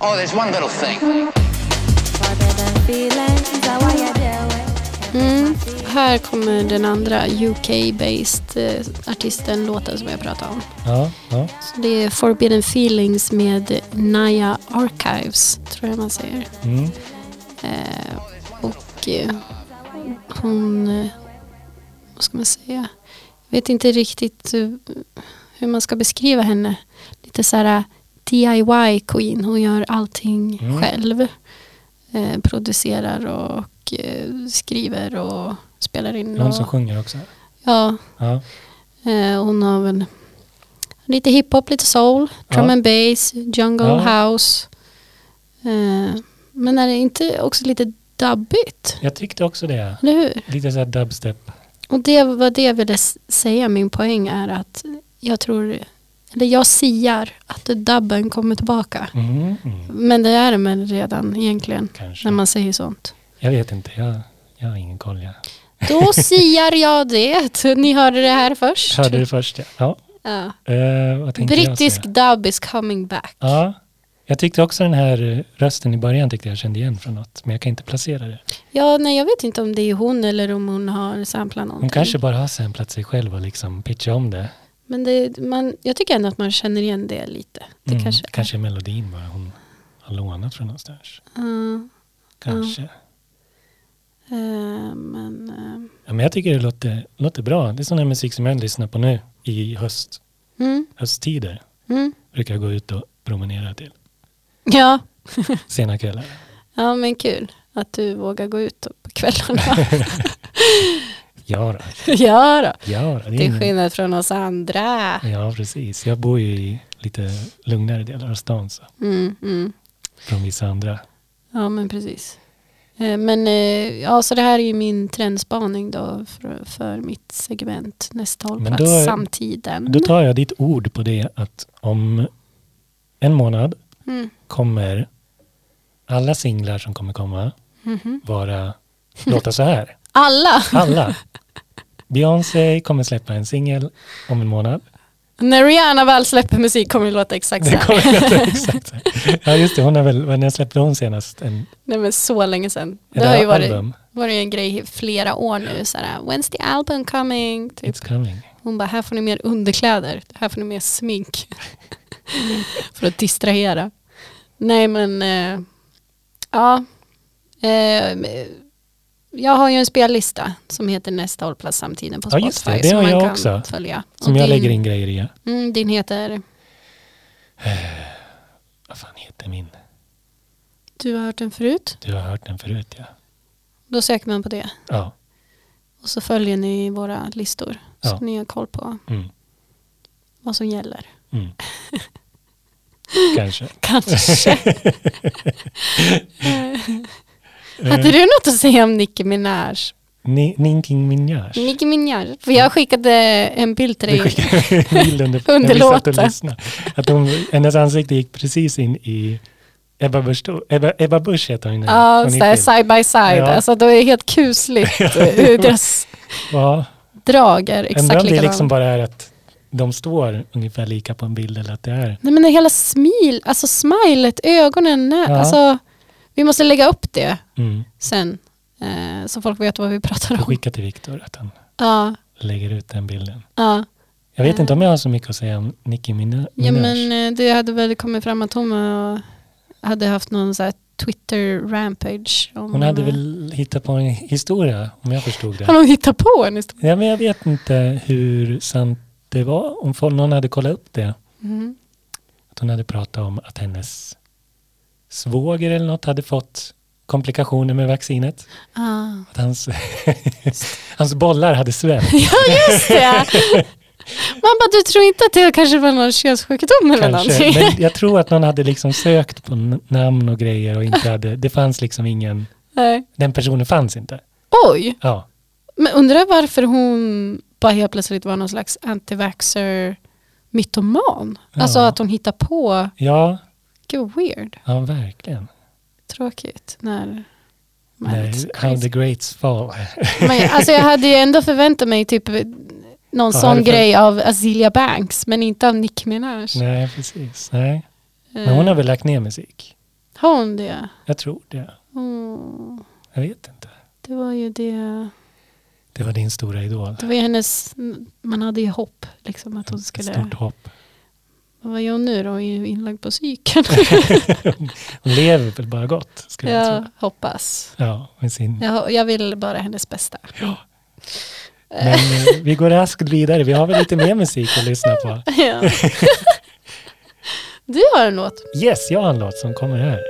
[SPEAKER 5] oh, there's one little thing.
[SPEAKER 7] Forbidden feeling. Zawaya deal with.
[SPEAKER 1] Mm. Här kommer den andra UK-based eh, artisten, låten som jag pratade om.
[SPEAKER 2] Ja, ja.
[SPEAKER 1] Så det är Forbidden Feelings med Naya Archives, tror jag man säger.
[SPEAKER 2] Mm.
[SPEAKER 1] Eh, och eh, hon, eh, vad ska man säga, jag vet inte riktigt eh, hur man ska beskriva henne. Lite så här eh, DIY-queen, hon gör allting
[SPEAKER 2] Mm.
[SPEAKER 1] själv. Eh, producerar och eh, skriver och spelar in.
[SPEAKER 2] Någon som
[SPEAKER 1] Och,
[SPEAKER 2] sjunger också.
[SPEAKER 1] ja,
[SPEAKER 2] Ja.
[SPEAKER 1] eh, hon har väl lite hiphop, lite soul, drum
[SPEAKER 2] Ja.
[SPEAKER 1] and bass, jungle
[SPEAKER 2] Ja.
[SPEAKER 1] house. Eh, men är det inte också lite dubbigt?
[SPEAKER 2] Jag tyckte också det.
[SPEAKER 1] Eller hur?
[SPEAKER 2] Lite så här dubstep.
[SPEAKER 1] Och det var det jag ville s- säga, min poäng är att jag tror, eller jag siar att dubben kommer tillbaka.
[SPEAKER 2] Mm. Mm.
[SPEAKER 1] Men det är den väl redan egentligen,
[SPEAKER 2] Kanske.
[SPEAKER 1] när man säger sånt.
[SPEAKER 2] Jag vet inte. Jag, jag har ingen koll. Jag
[SPEAKER 1] Då siar jag det, ni hörde det här först.
[SPEAKER 2] hörde det först. Ja. Ja.
[SPEAKER 1] Ja.
[SPEAKER 2] Eh, vad tänkte jag säga?
[SPEAKER 1] Brittisk dub is coming back.
[SPEAKER 2] Ja, jag tyckte också den här eh, rösten i början tyckte jag kände igen från något, men jag kan inte placera det.
[SPEAKER 1] Ja, nej jag vet inte om det är hon eller om hon har samplat någonting.
[SPEAKER 2] Hon kanske bara har samplat sig själv och liksom pitchat om det.
[SPEAKER 1] Men det, man, jag tycker ändå att man känner igen det lite. Det
[SPEAKER 2] Mm,
[SPEAKER 1] kanske,
[SPEAKER 2] är melodin bara hon har lånat från någonstans.
[SPEAKER 1] Ja,
[SPEAKER 2] Kanske.
[SPEAKER 1] Eh, men eh,
[SPEAKER 2] Ja, men jag tycker det låter, låter bra. Det är sån här musik som jag lyssnar på nu i höst,
[SPEAKER 1] mm,
[SPEAKER 2] hösttider.
[SPEAKER 1] mm.
[SPEAKER 2] Brukar jag gå ut och promenera till
[SPEAKER 1] Ja,
[SPEAKER 2] sena kvällar.
[SPEAKER 1] ja, men kul att du vågar gå ut på kvällarna.
[SPEAKER 2] Ja, då,
[SPEAKER 1] ja då.
[SPEAKER 2] ja då,
[SPEAKER 1] Till
[SPEAKER 2] ingen-
[SPEAKER 1] skillnad från oss andra.
[SPEAKER 2] Ja, precis. Jag bor ju i lite lugnare delar av stan så,
[SPEAKER 1] Mm, mm.
[SPEAKER 2] från vissa andra.
[SPEAKER 1] Ja, men precis. Eh, Men eh, ja, så det här är ju min trendspaning då för, för mitt segment nästa hållplats,
[SPEAKER 2] då-
[SPEAKER 1] samtiden.
[SPEAKER 2] Då tar jag ditt ord på det att om en månad
[SPEAKER 1] Mm.
[SPEAKER 2] kommer alla singlar som kommer komma
[SPEAKER 1] Mhm.
[SPEAKER 2] vara, låta så här.
[SPEAKER 1] Alla!
[SPEAKER 2] Alla. Beyoncé kommer släppa en singel om en månad.
[SPEAKER 1] När Rihanna väl släpper musik kommer det låta exakt så
[SPEAKER 2] Det
[SPEAKER 1] här.
[SPEAKER 2] kommer jag inte exakt så här. Ja just det, hon har väl, när släppte hon senast? En,
[SPEAKER 1] Nej men så länge sedan.
[SPEAKER 2] ett
[SPEAKER 1] Det har ju varit,
[SPEAKER 2] album?
[SPEAKER 1] varit en grej i flera år nu. Såhär, When's the album coming? Typ.
[SPEAKER 2] It's coming.
[SPEAKER 1] Hon bara, här får ni mer underkläder. Här får ni mer smink. För att distrahera. Nej men, eh, ja. Eh, jag har ju en spellista som heter Nästa hållplats samtiden på
[SPEAKER 2] Ja,
[SPEAKER 1] Spotify.
[SPEAKER 2] just det. Det
[SPEAKER 1] som
[SPEAKER 2] har
[SPEAKER 1] man
[SPEAKER 2] jag
[SPEAKER 1] kan
[SPEAKER 2] också.
[SPEAKER 1] Följa.
[SPEAKER 2] Som
[SPEAKER 1] Och
[SPEAKER 2] jag
[SPEAKER 1] din,
[SPEAKER 2] lägger in grejer i.
[SPEAKER 1] Mm, din heter,
[SPEAKER 2] Vad fan heter min?
[SPEAKER 1] du har hört den förut.
[SPEAKER 2] Du har hört den förut ja.
[SPEAKER 1] Då söker man på det.
[SPEAKER 2] Ja.
[SPEAKER 1] Och så följer ni våra listor. Så
[SPEAKER 2] Ja.
[SPEAKER 1] ni har koll på
[SPEAKER 2] Mm.
[SPEAKER 1] vad som gäller.
[SPEAKER 2] Mm. Kanske.
[SPEAKER 1] Kanske. Hade
[SPEAKER 2] Eh.
[SPEAKER 1] du något att säga om Nicki Minaj?
[SPEAKER 2] Ni- Ninking Minaj.
[SPEAKER 1] Nicki Minaj. För jag skickade en bild till
[SPEAKER 2] Du
[SPEAKER 1] dig.
[SPEAKER 2] skickade en bild under,
[SPEAKER 1] Under
[SPEAKER 2] när vi satt och
[SPEAKER 1] låten.
[SPEAKER 2] lyssnade. Att hon, hennes ansikte gick precis in i Ebba Busch Thor- Ebba, Ebba Busch heter hon. i-
[SPEAKER 1] Ja,
[SPEAKER 2] hon i
[SPEAKER 1] så här
[SPEAKER 2] film.
[SPEAKER 1] side by side.
[SPEAKER 2] Ja.
[SPEAKER 1] Alltså det är helt kusligt hur deras
[SPEAKER 2] Ja,
[SPEAKER 1] drag är
[SPEAKER 2] undrar
[SPEAKER 1] exakt
[SPEAKER 2] om det
[SPEAKER 1] likadant.
[SPEAKER 2] liksom bara är att de står ungefär lika på en bild eller att det är.
[SPEAKER 1] Nej men det hela smil, alltså smilet, ögonen, nä-
[SPEAKER 2] Ja.
[SPEAKER 1] alltså vi måste lägga upp det
[SPEAKER 2] Mm.
[SPEAKER 1] sen. Eh, så folk vet vad vi pratar
[SPEAKER 2] Får
[SPEAKER 1] om.
[SPEAKER 2] skicka till Viktor att han
[SPEAKER 1] Ja,
[SPEAKER 2] lägger ut den bilden.
[SPEAKER 1] ja.
[SPEAKER 2] Jag vet
[SPEAKER 1] Eh.
[SPEAKER 2] inte om jag har så mycket att säga om Nicki Mina- Minaj.
[SPEAKER 1] ja men eh, det hade väl kommit fram att hon var- hade haft någon så här Twitter rampage. Om,
[SPEAKER 2] hon hade
[SPEAKER 1] eh,
[SPEAKER 2] väl hittat på en historia om jag förstod det.
[SPEAKER 1] Har hon hittat på en historia?
[SPEAKER 2] Ja, men jag vet inte hur sant det var. Om folk- någon hade kollat upp det.
[SPEAKER 1] Mm.
[SPEAKER 2] Att hon hade pratat om att hennes svåger eller något hade fått komplikationer med vaccinet.
[SPEAKER 1] Ah.
[SPEAKER 2] Att hans, hans bollar hade svällt
[SPEAKER 1] Ja just det! Man bara, du tror inte att det kanske var någon könssjukdom eller
[SPEAKER 2] kanske.
[SPEAKER 1] någonting?
[SPEAKER 2] Men jag tror att någon hade liksom sökt på n- namn och grejer och inte hade, det fanns liksom ingen,
[SPEAKER 1] Nej.
[SPEAKER 2] den personen fanns inte.
[SPEAKER 1] Oj,
[SPEAKER 2] Ja,
[SPEAKER 1] men undrar varför hon bara helt plötsligt var någon slags antivaxxer mytoman. Alltså
[SPEAKER 2] Ja.
[SPEAKER 1] att hon hittar på,
[SPEAKER 2] ja,
[SPEAKER 1] gud weird,
[SPEAKER 2] ja verkligen.
[SPEAKER 1] tråkigt. När man är
[SPEAKER 2] Nej,
[SPEAKER 1] lite
[SPEAKER 2] how the
[SPEAKER 1] crazy.
[SPEAKER 2] greats fall.
[SPEAKER 1] men, alltså jag hade ju ändå förväntat mig typ någon
[SPEAKER 2] Ja,
[SPEAKER 1] sån
[SPEAKER 2] härifrån.
[SPEAKER 1] grej av Azealia Banks men inte av Nicki Minaj. Eh,
[SPEAKER 2] Nej, precis. Nej. Men
[SPEAKER 1] Mm.
[SPEAKER 2] hon har väl lagt ner musik.
[SPEAKER 1] har hon det?
[SPEAKER 2] Jag tror det.
[SPEAKER 1] Åh,
[SPEAKER 2] Jag vet inte.
[SPEAKER 1] det var ju det.
[SPEAKER 2] Det var din stora idol.
[SPEAKER 1] Det var ju hennes, man hade ju hopp liksom att hon skulle,
[SPEAKER 2] Stort hopp.
[SPEAKER 1] vad gör hon nu då, Hon är ju inlagd på psyken?
[SPEAKER 2] Hon lever väl bara gott, skulle jag tro.
[SPEAKER 1] jag hoppas.
[SPEAKER 2] Ja, med sin...
[SPEAKER 1] Jag, jag vill bara hennes bästa.
[SPEAKER 2] Men eh, vi går raskt vidare. Vi har väl lite mer musik att lyssna på.
[SPEAKER 1] Ja. du har en låt.
[SPEAKER 2] Yes, jag har en låt som kommer här.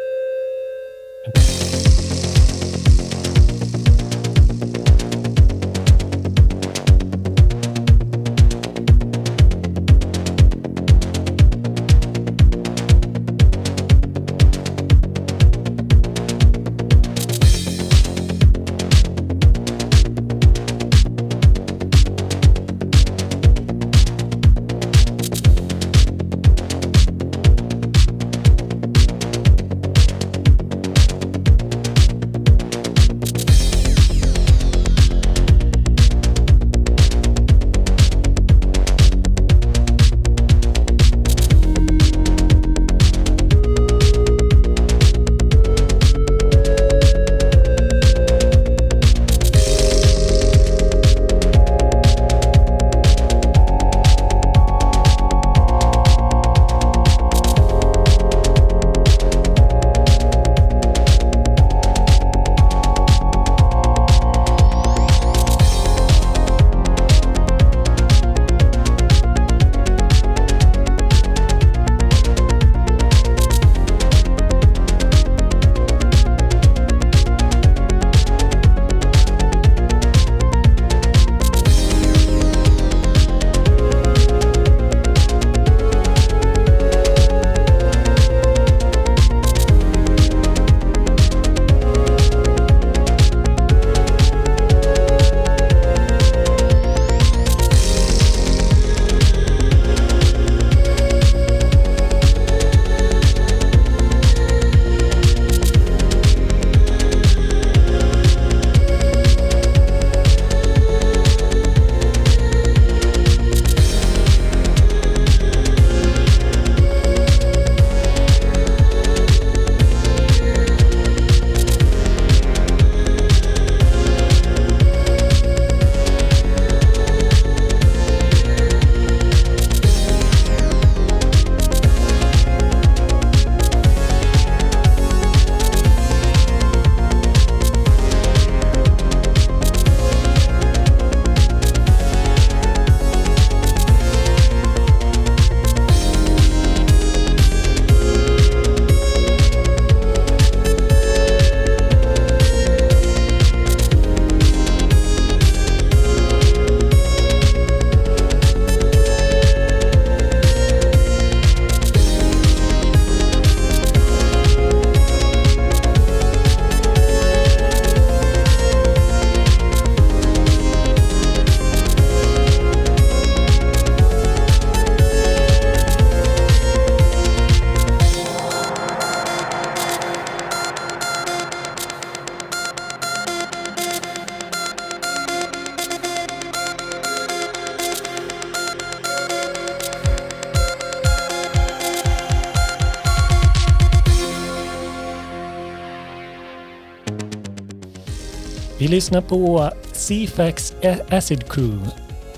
[SPEAKER 2] Vi lyssnar på Cefax Acid Crew,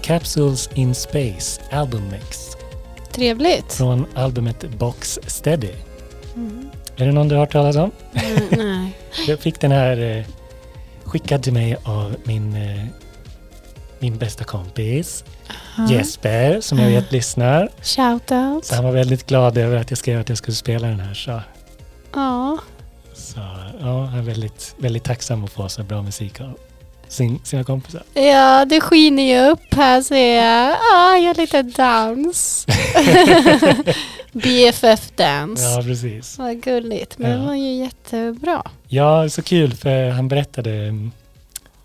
[SPEAKER 2] Capsules in Space Album Mix
[SPEAKER 1] Trevligt.
[SPEAKER 2] från albumet Box Steady. Är det någon du har hört talas om?
[SPEAKER 1] Mm, nej.
[SPEAKER 2] Jag fick den här eh, skickad till mig av min, eh, min bästa kompis Jesper som jag vet lyssnar.
[SPEAKER 1] Shoutout.
[SPEAKER 2] Så han var väldigt glad över att jag skrev att jag skulle spela den här. Så,
[SPEAKER 1] Ja.
[SPEAKER 2] så ja, han är väldigt, väldigt tacksam att få så bra musik av sin, sina kompisar.
[SPEAKER 1] ja, det skiner ju upp här ser jag. Ah, jag är lite dans. BFF-dans.
[SPEAKER 2] Ja, precis.
[SPEAKER 1] Vad gulligt. Men
[SPEAKER 2] Ja.
[SPEAKER 1] det var ju jättebra.
[SPEAKER 2] Ja, så kul för han berättade, mm,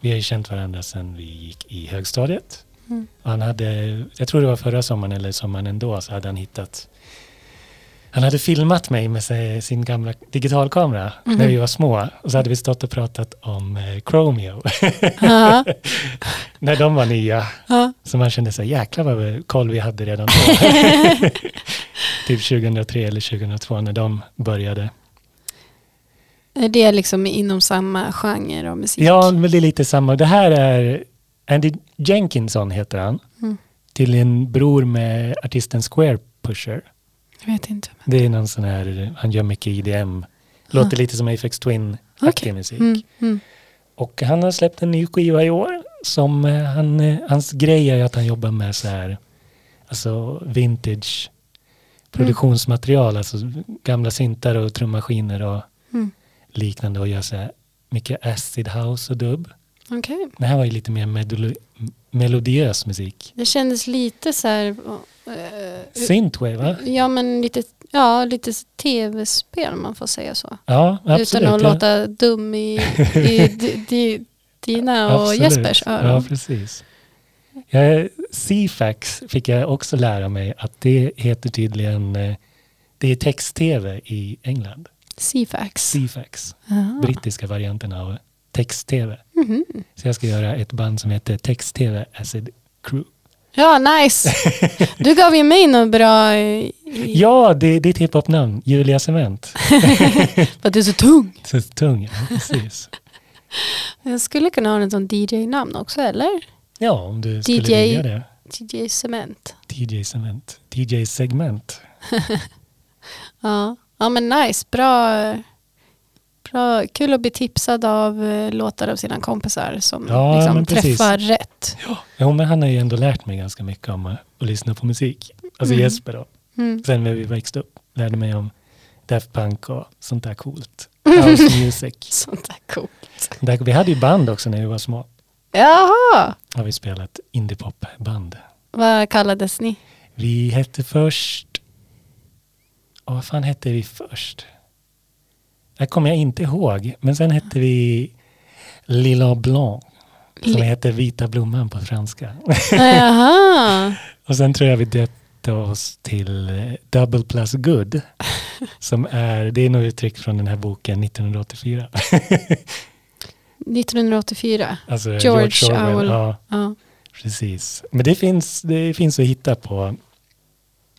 [SPEAKER 2] vi har ju känt varandra sedan vi gick i högstadiet.
[SPEAKER 1] Mm.
[SPEAKER 2] Och han hade, jag tror det var förra sommaren eller sommaren ändå, så hade han hittat, han hade filmat mig med sig- sin gamla digitalkamera när vi var små. Och så hade vi stått och pratat om eh, Chromio,
[SPEAKER 1] Ja.
[SPEAKER 2] när de var nya.
[SPEAKER 1] Ja.
[SPEAKER 2] Så man kände så här, jäklar vad koll vi hade redan då. typ 2003 eller 2002 när de började.
[SPEAKER 1] Är det liksom inom samma genre av musik?
[SPEAKER 2] Ja, men det är lite samma. Det här är Andy Jenkinson heter han.
[SPEAKER 1] Mm.
[SPEAKER 2] Till en bror med artisten Square Pusher.
[SPEAKER 1] Jag vet inte. Men.
[SPEAKER 2] Det är någon sån här, han gör mycket IDM. Låter lite som Aphex Twin-aktig
[SPEAKER 1] Ah. Okej.
[SPEAKER 2] musik.
[SPEAKER 1] Mm, mm.
[SPEAKER 2] Och han har släppt en ny skiva i år. Som eh, han, eh, hans grej är ju att han jobbar med så här, alltså vintage produktionsmaterial. Alltså gamla syntar och trummaskiner och
[SPEAKER 1] Mm.
[SPEAKER 2] liknande. Och gör så här mycket acid house och dubb.
[SPEAKER 1] Okej.
[SPEAKER 2] Det här var ju lite mer medolo- m- melodiös musik.
[SPEAKER 1] Det kändes lite så här... eh,
[SPEAKER 2] Synthwave, va?
[SPEAKER 1] ja, men lite, ja, lite tv-spel om man får säga så.
[SPEAKER 2] Ja, absolut.
[SPEAKER 1] Utan att
[SPEAKER 2] ja.
[SPEAKER 1] låta dum i, i di, di, dina och
[SPEAKER 2] Absolut.
[SPEAKER 1] Jespers
[SPEAKER 2] Ja,
[SPEAKER 1] öron.
[SPEAKER 2] precis. Ja, C-fax fick jag också lära mig att det heter tydligen, eh, det är text-tv i England.
[SPEAKER 1] C-fax.
[SPEAKER 2] C-fax,
[SPEAKER 1] Aha.
[SPEAKER 2] brittiska varianten av text-tv.
[SPEAKER 1] Ah. Mhm.
[SPEAKER 2] Så jag ska göra ett band som heter text-tv Acid Crew.
[SPEAKER 1] Ja, nice. Du gav ju mig något bra... eh, I, i,
[SPEAKER 2] Ja, det, det är ett hiphop-namn, Julia Cement.
[SPEAKER 1] för att du är så tung.
[SPEAKER 2] Så tung, ja, precis.
[SPEAKER 1] Jag skulle kunna ha en sån DJ-namn också, eller?
[SPEAKER 2] Ja, om du skulle
[SPEAKER 1] DJ.
[SPEAKER 2] vilja det.
[SPEAKER 1] DJ Cement.
[SPEAKER 2] DJ segment. DJ segment.
[SPEAKER 1] Ja, ja men nice. Bra, bra. Kul att bli tipsad av eh, låtar av sina kompisar som
[SPEAKER 2] Ja, men
[SPEAKER 1] liksom
[SPEAKER 2] precis.
[SPEAKER 1] träffar rätt.
[SPEAKER 2] Jo, men han har ju ändå lärt mig ganska mycket om eh, att lyssna på musik. Alltså Jesper då.
[SPEAKER 1] Mm.
[SPEAKER 2] Sen när vi växte upp lärde mig om Daft Punk och sånt där coolt.
[SPEAKER 1] Mm.
[SPEAKER 2] House music.
[SPEAKER 1] Sånt där coolt.
[SPEAKER 2] Där- Vi hade ju band också när vi var små.
[SPEAKER 1] Jaha,
[SPEAKER 2] Har vi spelat indiepopband.
[SPEAKER 1] vad kallades ni?
[SPEAKER 2] Vi hette först... Ja, vad fan hette vi först? Det här kommer jag inte ihåg. Men sen hette vi Lila Blanc. Som
[SPEAKER 1] Li-
[SPEAKER 2] heter Vita Blomman på franska.
[SPEAKER 1] Jaha,
[SPEAKER 2] Och sen tror jag vi döpte oss till eh, Double Plus Good. Som är, det är nog uttryck från den här boken 1984.
[SPEAKER 1] 1984.
[SPEAKER 2] Alltså
[SPEAKER 1] George Orwell.
[SPEAKER 2] Ja,
[SPEAKER 1] Ja.
[SPEAKER 2] precis. Men det finns, det finns att hitta på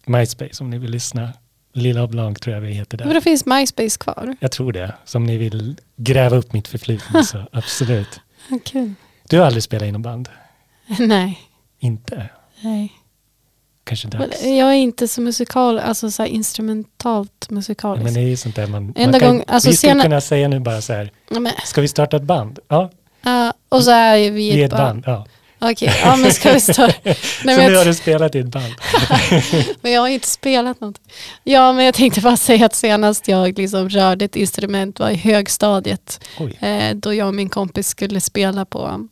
[SPEAKER 2] MySpace om ni vill lyssna. Lilla Blanc tror jag vi heter
[SPEAKER 1] Men då
[SPEAKER 2] där.
[SPEAKER 1] finns MySpace kvar.
[SPEAKER 2] Jag tror det. Så om ni vill gräva upp mitt förflutna så absolut.
[SPEAKER 1] Vad kul.
[SPEAKER 2] Du har aldrig spelat i något band?
[SPEAKER 1] Nej,
[SPEAKER 2] Inte?
[SPEAKER 1] nej.
[SPEAKER 2] Kanske
[SPEAKER 1] Men eh,
[SPEAKER 2] dags?
[SPEAKER 1] jag är inte så musikal, alltså så här instrumentalt
[SPEAKER 2] Ja,
[SPEAKER 1] musikalisk.
[SPEAKER 2] Men det är ju sånt där man...
[SPEAKER 1] Enda
[SPEAKER 2] man kan,
[SPEAKER 1] gång- alltså
[SPEAKER 2] vi skulle
[SPEAKER 1] sena-
[SPEAKER 2] kunna säga nu bara så här,
[SPEAKER 1] Ja, men,
[SPEAKER 2] ska vi starta ett band? Ja,
[SPEAKER 1] ja, eh, och så är ju vi
[SPEAKER 2] I ett band, ja.
[SPEAKER 1] Okej, ja men ska vi stå... Nej, men
[SPEAKER 2] så
[SPEAKER 1] jag
[SPEAKER 2] nu har du spelat i ett band.
[SPEAKER 1] Men jag har ju inte spelat något. Ja, men jag tänkte bara säga att senast jag liksom rörde ett instrument var i högstadiet.
[SPEAKER 2] Oj.
[SPEAKER 1] Eh, då jag och min kompis skulle spela på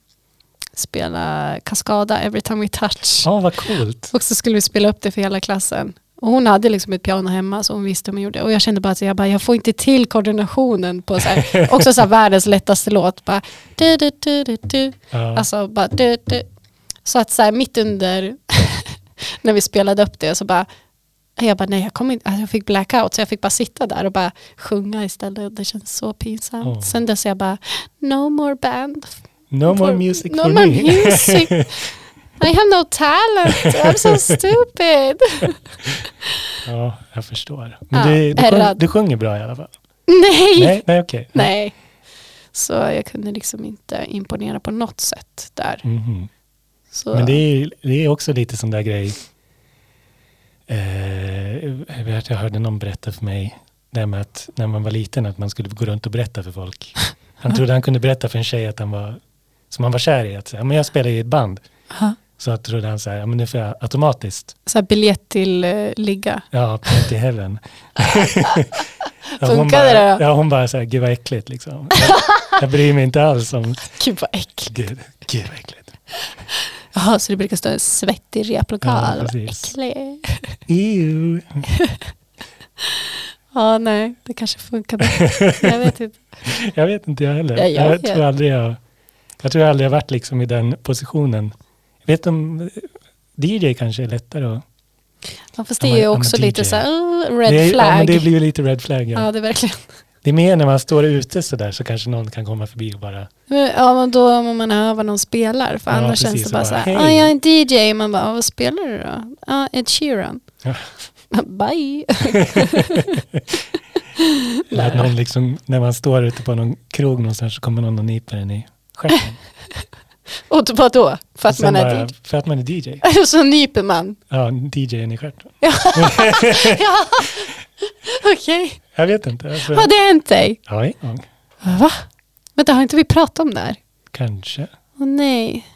[SPEAKER 1] spela Cascada, Every Time We Touch.
[SPEAKER 2] Ja, vad coolt.
[SPEAKER 1] Och så skulle vi spela upp det för hela klassen. Och hon hade liksom ett piano hemma så hon visste hur man gjorde. Och jag kände bara att jag, bara, jag får inte till koordinationen på så här, också så här världens lättaste låt. Bara, du, du, du, du, du.
[SPEAKER 2] Ja.
[SPEAKER 1] Alltså bara du, du. Så att så här mitt under när vi spelade upp det så bara jag bara nej jag kommer inte, alltså jag fick blackout så jag fick bara sitta där och bara sjunga istället och det kändes så pinsamt.
[SPEAKER 2] Åh.
[SPEAKER 1] Sen dess jag bara no more band.
[SPEAKER 2] no more music
[SPEAKER 1] no
[SPEAKER 2] for
[SPEAKER 1] more
[SPEAKER 2] me.
[SPEAKER 1] music. I have no talent, I'm so stupid.
[SPEAKER 2] ja, jag förstår. Men
[SPEAKER 1] Ja,
[SPEAKER 2] du, du, sjung,
[SPEAKER 1] ärrad.
[SPEAKER 2] du sjunger bra i alla fall.
[SPEAKER 1] nej,
[SPEAKER 2] Nej, nej okej.
[SPEAKER 1] nej. Så jag kunde liksom inte imponera på något sätt där.
[SPEAKER 2] Mhm.
[SPEAKER 1] Så,
[SPEAKER 2] Men det är, det är också lite sån där grej. Eh, jag vet, jag hörde någon berätta för mig det här med att när man var liten att man skulle gå runt och berätta för folk. Han trodde han kunde berätta för en tjej att han var, som han var kär i, att säga, men jag spelar i ett band.
[SPEAKER 1] Aha.
[SPEAKER 2] Så att trodde han så här, "Ja, men nu får jag automatiskt,
[SPEAKER 1] så här biljett till eh, ligga.
[SPEAKER 2] ja, till heaven. Ja, hon
[SPEAKER 1] Funkade
[SPEAKER 2] bara-
[SPEAKER 1] det då?
[SPEAKER 2] Ja, hon bara så här, gud vad äckligt liksom. Jag, jag bryr mig inte alls om,
[SPEAKER 1] Gud vad äckligt.
[SPEAKER 2] gud, gud vad äckligt.
[SPEAKER 1] Jaha, så det brukar stå en svettig replokal.
[SPEAKER 2] Ja,
[SPEAKER 1] Vad
[SPEAKER 2] precis.
[SPEAKER 1] äcklig.
[SPEAKER 2] Ew.
[SPEAKER 1] Ja, nej, det kanske funkar bättre. Jag vet typ- inte.
[SPEAKER 2] Jag vet inte jag heller.
[SPEAKER 1] Ja, jag
[SPEAKER 2] jag,
[SPEAKER 1] vet.
[SPEAKER 2] tror aldrig jag, jag tror aldrig jag varit liksom i den positionen. Jag vet om DJ kanske är lättare att...
[SPEAKER 1] Ja, fast det är ju
[SPEAKER 2] I'm a- I'm a
[SPEAKER 1] också
[SPEAKER 2] DJ.
[SPEAKER 1] lite så här, uh, red
[SPEAKER 2] det är, Ja,
[SPEAKER 1] flag.
[SPEAKER 2] men det blir ju lite red flag. Ja.
[SPEAKER 1] Ja, det är verkligen.
[SPEAKER 2] Det är mer när man står ute sådär så kanske någon kan komma förbi och bara...
[SPEAKER 1] Men, Ja, men då om man hör vad någon spelar. För
[SPEAKER 2] Ja,
[SPEAKER 1] annars
[SPEAKER 2] precis,
[SPEAKER 1] känns det
[SPEAKER 2] och
[SPEAKER 1] bara
[SPEAKER 2] bara,
[SPEAKER 1] så här,
[SPEAKER 2] "Hej."
[SPEAKER 1] "Ah, jag är en DJ. Man bara, "Ah, vad spelar du då? Ja, Ed Sheeran.
[SPEAKER 2] Ja.
[SPEAKER 1] Bye. Mm.
[SPEAKER 2] Eller att någon liksom, när man står ute på någon krog någonstans så kommer någon och nyper en i stjärten.
[SPEAKER 1] Och då- vad då? För
[SPEAKER 2] Och
[SPEAKER 1] att
[SPEAKER 2] sen
[SPEAKER 1] man är
[SPEAKER 2] bara,
[SPEAKER 1] DJ.
[SPEAKER 2] För att man är DJ.
[SPEAKER 1] Så nyper man.
[SPEAKER 2] Ja, DJn i stjärten.
[SPEAKER 1] ja, okej.
[SPEAKER 2] Jag vet inte. Alltså,
[SPEAKER 1] Har det hänt dig?
[SPEAKER 2] ja, en gång.
[SPEAKER 1] Va? Vänta, har inte vi pratat om det här?
[SPEAKER 2] Kanske.
[SPEAKER 1] Åh nej.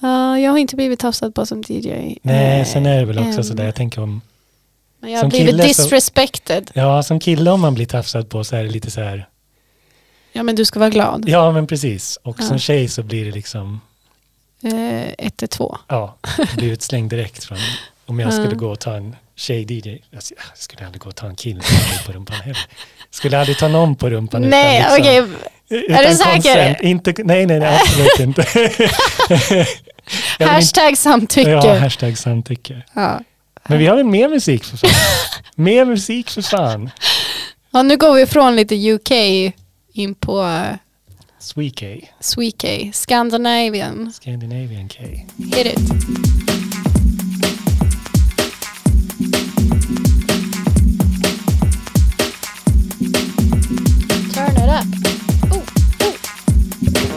[SPEAKER 1] Ja, jag har inte blivit tafsad på som DJ.
[SPEAKER 2] Nej,
[SPEAKER 1] Eh,
[SPEAKER 2] sen är det väl också
[SPEAKER 1] än.
[SPEAKER 2] sådär. Jag tänker om...
[SPEAKER 1] Men jag har
[SPEAKER 2] som
[SPEAKER 1] blivit
[SPEAKER 2] kille så-
[SPEAKER 1] disrespected.
[SPEAKER 2] Ja, som kille om man blir tafsad på så är det lite så här...
[SPEAKER 1] Ja, men du ska vara glad.
[SPEAKER 2] Ja, men precis. Och
[SPEAKER 1] Ja.
[SPEAKER 2] som tjej så blir det liksom,
[SPEAKER 1] Eh, 112.
[SPEAKER 2] ja, jag blir utslängd direkt från, om jag
[SPEAKER 1] Ja.
[SPEAKER 2] skulle gå och ta en tjej-DJ, alltså, jag skulle aldrig gå och ta en kille som hade på rumpan heller. Skulle aldrig ta någon på rumpan
[SPEAKER 1] Nej,
[SPEAKER 2] utan liksom-
[SPEAKER 1] okej.
[SPEAKER 2] utan
[SPEAKER 1] Är du säker?
[SPEAKER 2] consent. Inte, nej, nej, nej, absolut inte. Jag vill inte-
[SPEAKER 1] Hashtag samtycke.
[SPEAKER 2] Ja, hashtag samtycke.
[SPEAKER 1] Ja.
[SPEAKER 2] Men vi har väl mer musik för fan? mer musik för fan.
[SPEAKER 1] Ja, nu går vi ifrån lite UK in på uh,
[SPEAKER 2] Swee-K,
[SPEAKER 1] Sweke, Scandinavian.
[SPEAKER 2] Scandinavian K.
[SPEAKER 1] Hit it. Turn it up. Ooh, ooh.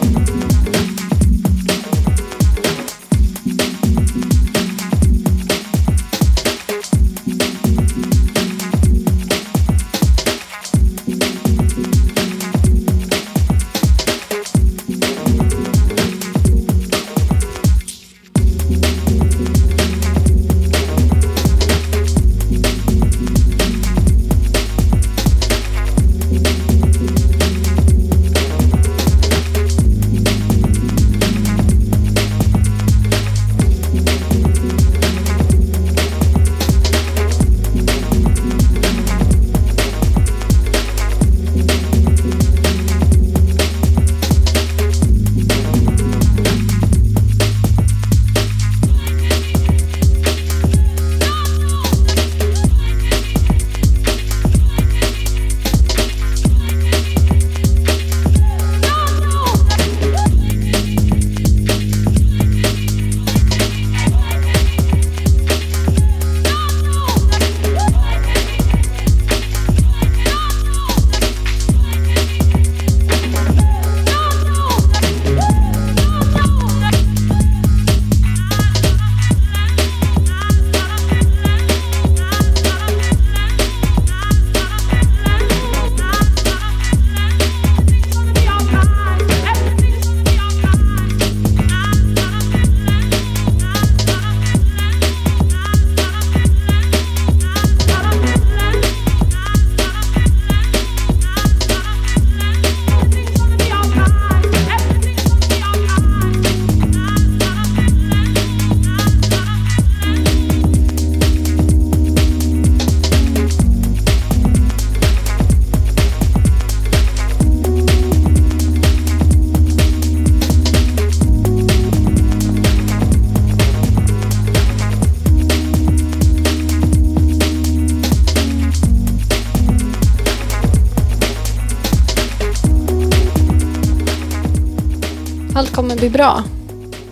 [SPEAKER 1] Allt kommer bli bra.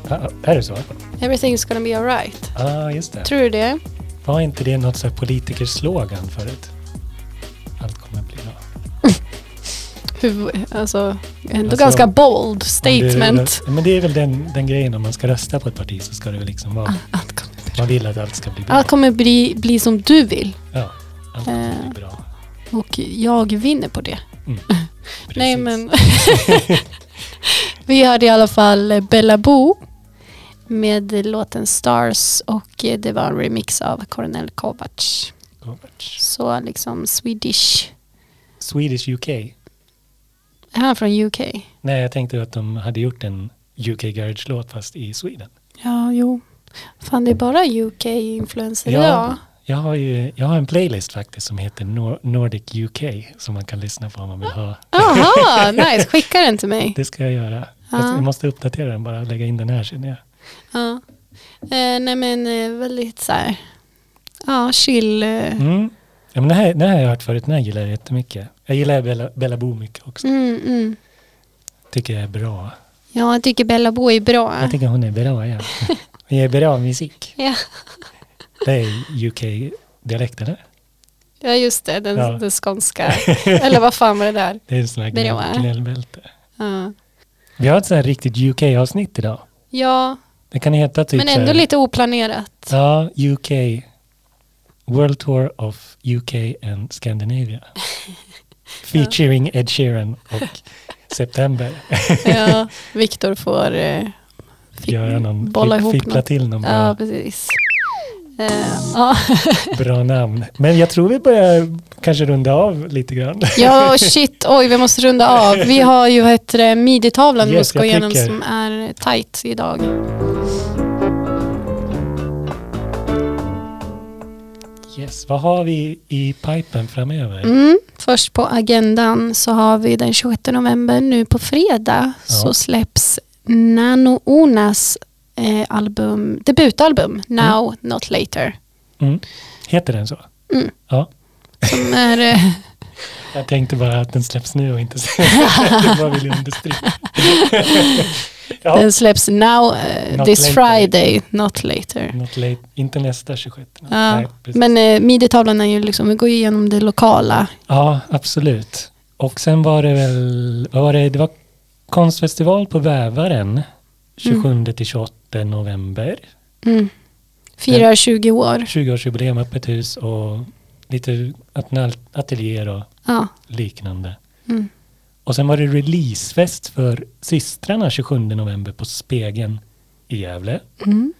[SPEAKER 2] Ah, är det så?
[SPEAKER 1] Everything's gonna be alright.
[SPEAKER 2] Ja, ah, just det.
[SPEAKER 1] Tror du det?
[SPEAKER 2] Var inte det något så här politikerslogan förut? Allt kommer bli bra.
[SPEAKER 1] Hur, alltså, Ändå
[SPEAKER 2] Alltså,
[SPEAKER 1] ganska bold statement.
[SPEAKER 2] Men det är väl den, den grejen, om man ska rösta på ett parti så ska det väl liksom vara...
[SPEAKER 1] Allt kommer, bli-
[SPEAKER 2] Man vill att allt ska bli bra.
[SPEAKER 1] Ah, allt kommer bli, bli som du vill
[SPEAKER 2] Ja, allt ska bli
[SPEAKER 1] Eh,
[SPEAKER 2] bra.
[SPEAKER 1] och jag vinner på det.
[SPEAKER 2] Precis.
[SPEAKER 1] Nej men. Vi hade i alla fall eh, Bella Bo med låten Stars och eh, det var en remix av Coronel Kovacs.
[SPEAKER 2] Kovacs.
[SPEAKER 1] Så liksom Swedish.
[SPEAKER 2] Swedish UK.
[SPEAKER 1] Är han från UK?
[SPEAKER 2] Nej, jag tänkte att de hade gjort en UK Garage-låt fast i Sweden.
[SPEAKER 1] Ja, jo. Fan det är bara UK-influenser
[SPEAKER 2] Ja.
[SPEAKER 1] idag.
[SPEAKER 2] Jag har, ju, jag har en playlist faktiskt som heter Nor- Nordic UK som man kan lyssna på om man vill ha.
[SPEAKER 1] Aha, nice. Skicka den till mig.
[SPEAKER 2] Det ska jag göra. Jag,
[SPEAKER 1] Ja.
[SPEAKER 2] jag måste uppdatera den bara och lägga in den här känner jag.
[SPEAKER 1] Ja. Eh, nej men eh, väldigt så här. Ja, chill. eh.
[SPEAKER 2] Mm. Ja, men den, här, den här har jag hört förut, den här gillar jag jättemycket. Jag gillar Bella, Bella Bo mycket också.
[SPEAKER 1] Mm, mm.
[SPEAKER 2] Tycker jag är bra.
[SPEAKER 1] Ja, jag tycker Bella Bo är bra.
[SPEAKER 2] Jag tycker hon är bra, ja. Hon gör bra musik.
[SPEAKER 1] Ja,
[SPEAKER 2] Det är UK-dialekt, eller?
[SPEAKER 1] ja just det. Den,
[SPEAKER 2] Ja.
[SPEAKER 1] den skånska. Eller vad fan var det där?
[SPEAKER 2] Det är en sån här
[SPEAKER 1] Bra.
[SPEAKER 2] gnäll- gnällbälte.
[SPEAKER 1] Ja,
[SPEAKER 2] Vi har ett sån här riktigt UK-avsnitt idag.
[SPEAKER 1] ja
[SPEAKER 2] Det kan heta typ
[SPEAKER 1] men
[SPEAKER 2] så
[SPEAKER 1] ändå
[SPEAKER 2] här-
[SPEAKER 1] lite oplanerat.
[SPEAKER 2] Ja, UK. World Tour of UK and Scandinavia. Featuring Ed Sheeran och September.
[SPEAKER 1] Ja, Viktor får eh, fi-
[SPEAKER 2] Göra någon,
[SPEAKER 1] bolla
[SPEAKER 2] fi-
[SPEAKER 1] ihop
[SPEAKER 2] fippla
[SPEAKER 1] något.
[SPEAKER 2] till någon
[SPEAKER 1] Ja,
[SPEAKER 2] bra,
[SPEAKER 1] precis. Eh, ja.
[SPEAKER 2] bra namn. Men jag tror vi börjar kanske runda av lite grann.
[SPEAKER 1] ja, shit. Oj, vi måste runda av. Vi har ju vad heter det, midjetavlan vi
[SPEAKER 2] Yes,
[SPEAKER 1] måste gå
[SPEAKER 2] jag
[SPEAKER 1] igenom
[SPEAKER 2] tycker.
[SPEAKER 1] som är tight idag.
[SPEAKER 2] Yes, vad har vi i pipen framöver?
[SPEAKER 1] Mm. Först på agendan så har vi den 26 november nu på fredag så
[SPEAKER 2] Ja.
[SPEAKER 1] släpps Nano Onas eh, album, debutalbum Now Not Later.
[SPEAKER 2] Mm. Heter den så?
[SPEAKER 1] Mm.
[SPEAKER 2] Ja.
[SPEAKER 1] Som är, eh,
[SPEAKER 2] Jag tänkte bara att den släpps nu och inte sen. det var vill jag understryka. Ja.
[SPEAKER 1] Den släpps now, eh,
[SPEAKER 2] Not
[SPEAKER 1] this
[SPEAKER 2] later.
[SPEAKER 1] Friday, not later.
[SPEAKER 2] Något late, inte nästa 26.
[SPEAKER 1] Ja,
[SPEAKER 2] Nej, precis.
[SPEAKER 1] men eh, midjetavlan är ju liksom, vi går ju igenom det lokala.
[SPEAKER 2] Ja, absolut. Och sen var det väl, vad var det, det var konstfestival på Vävaren 27-28 november.
[SPEAKER 1] Mm. Firar 20 år.
[SPEAKER 2] 20-årsjubileum, öppet hus och lite öppna ateljéer och
[SPEAKER 1] Ja.
[SPEAKER 2] liknande.
[SPEAKER 1] Mm.
[SPEAKER 2] Och sen var det releasefest för systrarna 27 november på Spegeln i Gävle.
[SPEAKER 1] Mm.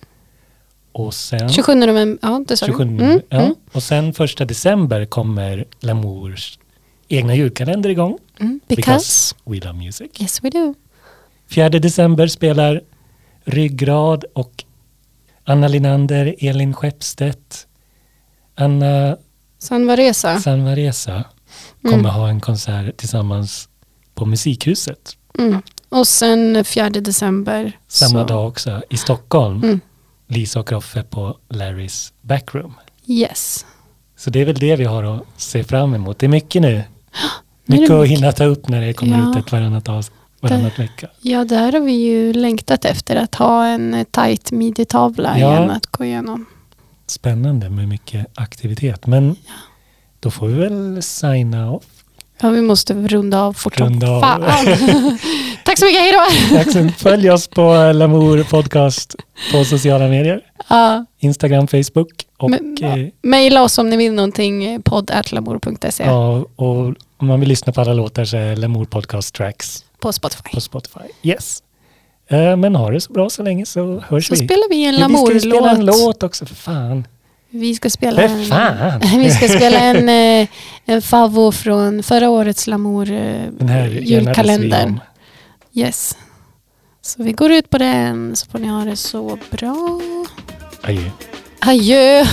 [SPEAKER 2] Och sen,
[SPEAKER 1] 27 november, ja det sa du.
[SPEAKER 2] 27,
[SPEAKER 1] Mm.
[SPEAKER 2] ja.
[SPEAKER 1] Mm.
[SPEAKER 2] Och sen första december kommer Lamours egna julkalender igång.
[SPEAKER 1] Mm. Because,
[SPEAKER 2] we love music.
[SPEAKER 1] yes we do.
[SPEAKER 2] 4 december spelar Ryggrad och Anna Linander, Elin Skeppstedt, Anna
[SPEAKER 1] San Varesa. Mm.
[SPEAKER 2] Sanvaresa kommer ha en konsert tillsammans på Musikhuset.
[SPEAKER 1] Mm. Och sen 4 december.
[SPEAKER 2] Samma
[SPEAKER 1] så-
[SPEAKER 2] dag också i Stockholm.
[SPEAKER 1] Mm.
[SPEAKER 2] Lisa och Roffe på Larrys Backroom.
[SPEAKER 1] Yes.
[SPEAKER 2] Så det är väl det vi har att se fram emot. Det är mycket nu.
[SPEAKER 1] det
[SPEAKER 2] Mycket att
[SPEAKER 1] mycket.
[SPEAKER 2] hinna ta upp när det kommer
[SPEAKER 1] Ja.
[SPEAKER 2] ut ett varannat, av, varannat vecka.
[SPEAKER 1] Ja, där har vi ju längtat efter att ha en eh, tight midjetavla
[SPEAKER 2] Ja.
[SPEAKER 1] igen att gå igenom.
[SPEAKER 2] Spännande med mycket aktivitet. Men då får vi väl signa off.
[SPEAKER 1] Ja, vi måste runda av fort som
[SPEAKER 2] Runda av.
[SPEAKER 1] fan. Tack så mycket, hej då!
[SPEAKER 2] Tack så mycket. Följ oss på Lamour Podcast på sociala medier.
[SPEAKER 1] Ja,
[SPEAKER 2] Instagram, Facebook och,
[SPEAKER 1] Men-
[SPEAKER 2] eh,
[SPEAKER 1] Maila oss om ni vill någonting, eh, podd.lamour.se
[SPEAKER 2] ja, och om man vill lyssna på alla låtar så är Lamour Podcast Tracks
[SPEAKER 1] på Spotify.
[SPEAKER 2] på Spotify. Yes. Eh, Men har det så bra så länge så hörs
[SPEAKER 1] Så
[SPEAKER 2] vi.
[SPEAKER 1] spelar vi en
[SPEAKER 2] Men Vi ska ju spela en
[SPEAKER 1] Lamour-låt. Eh,
[SPEAKER 2] låt också, för fan.
[SPEAKER 1] Vi ska spela
[SPEAKER 2] För
[SPEAKER 1] en,
[SPEAKER 2] fan!
[SPEAKER 1] vi ska spela en, eh, en favvo från förra årets
[SPEAKER 2] Den här enades vi
[SPEAKER 1] Lamour-julkalendern.
[SPEAKER 2] om.
[SPEAKER 1] Yes. Så vi går ut på den så får ni ha det så bra.
[SPEAKER 2] Adjö.
[SPEAKER 1] Adjö!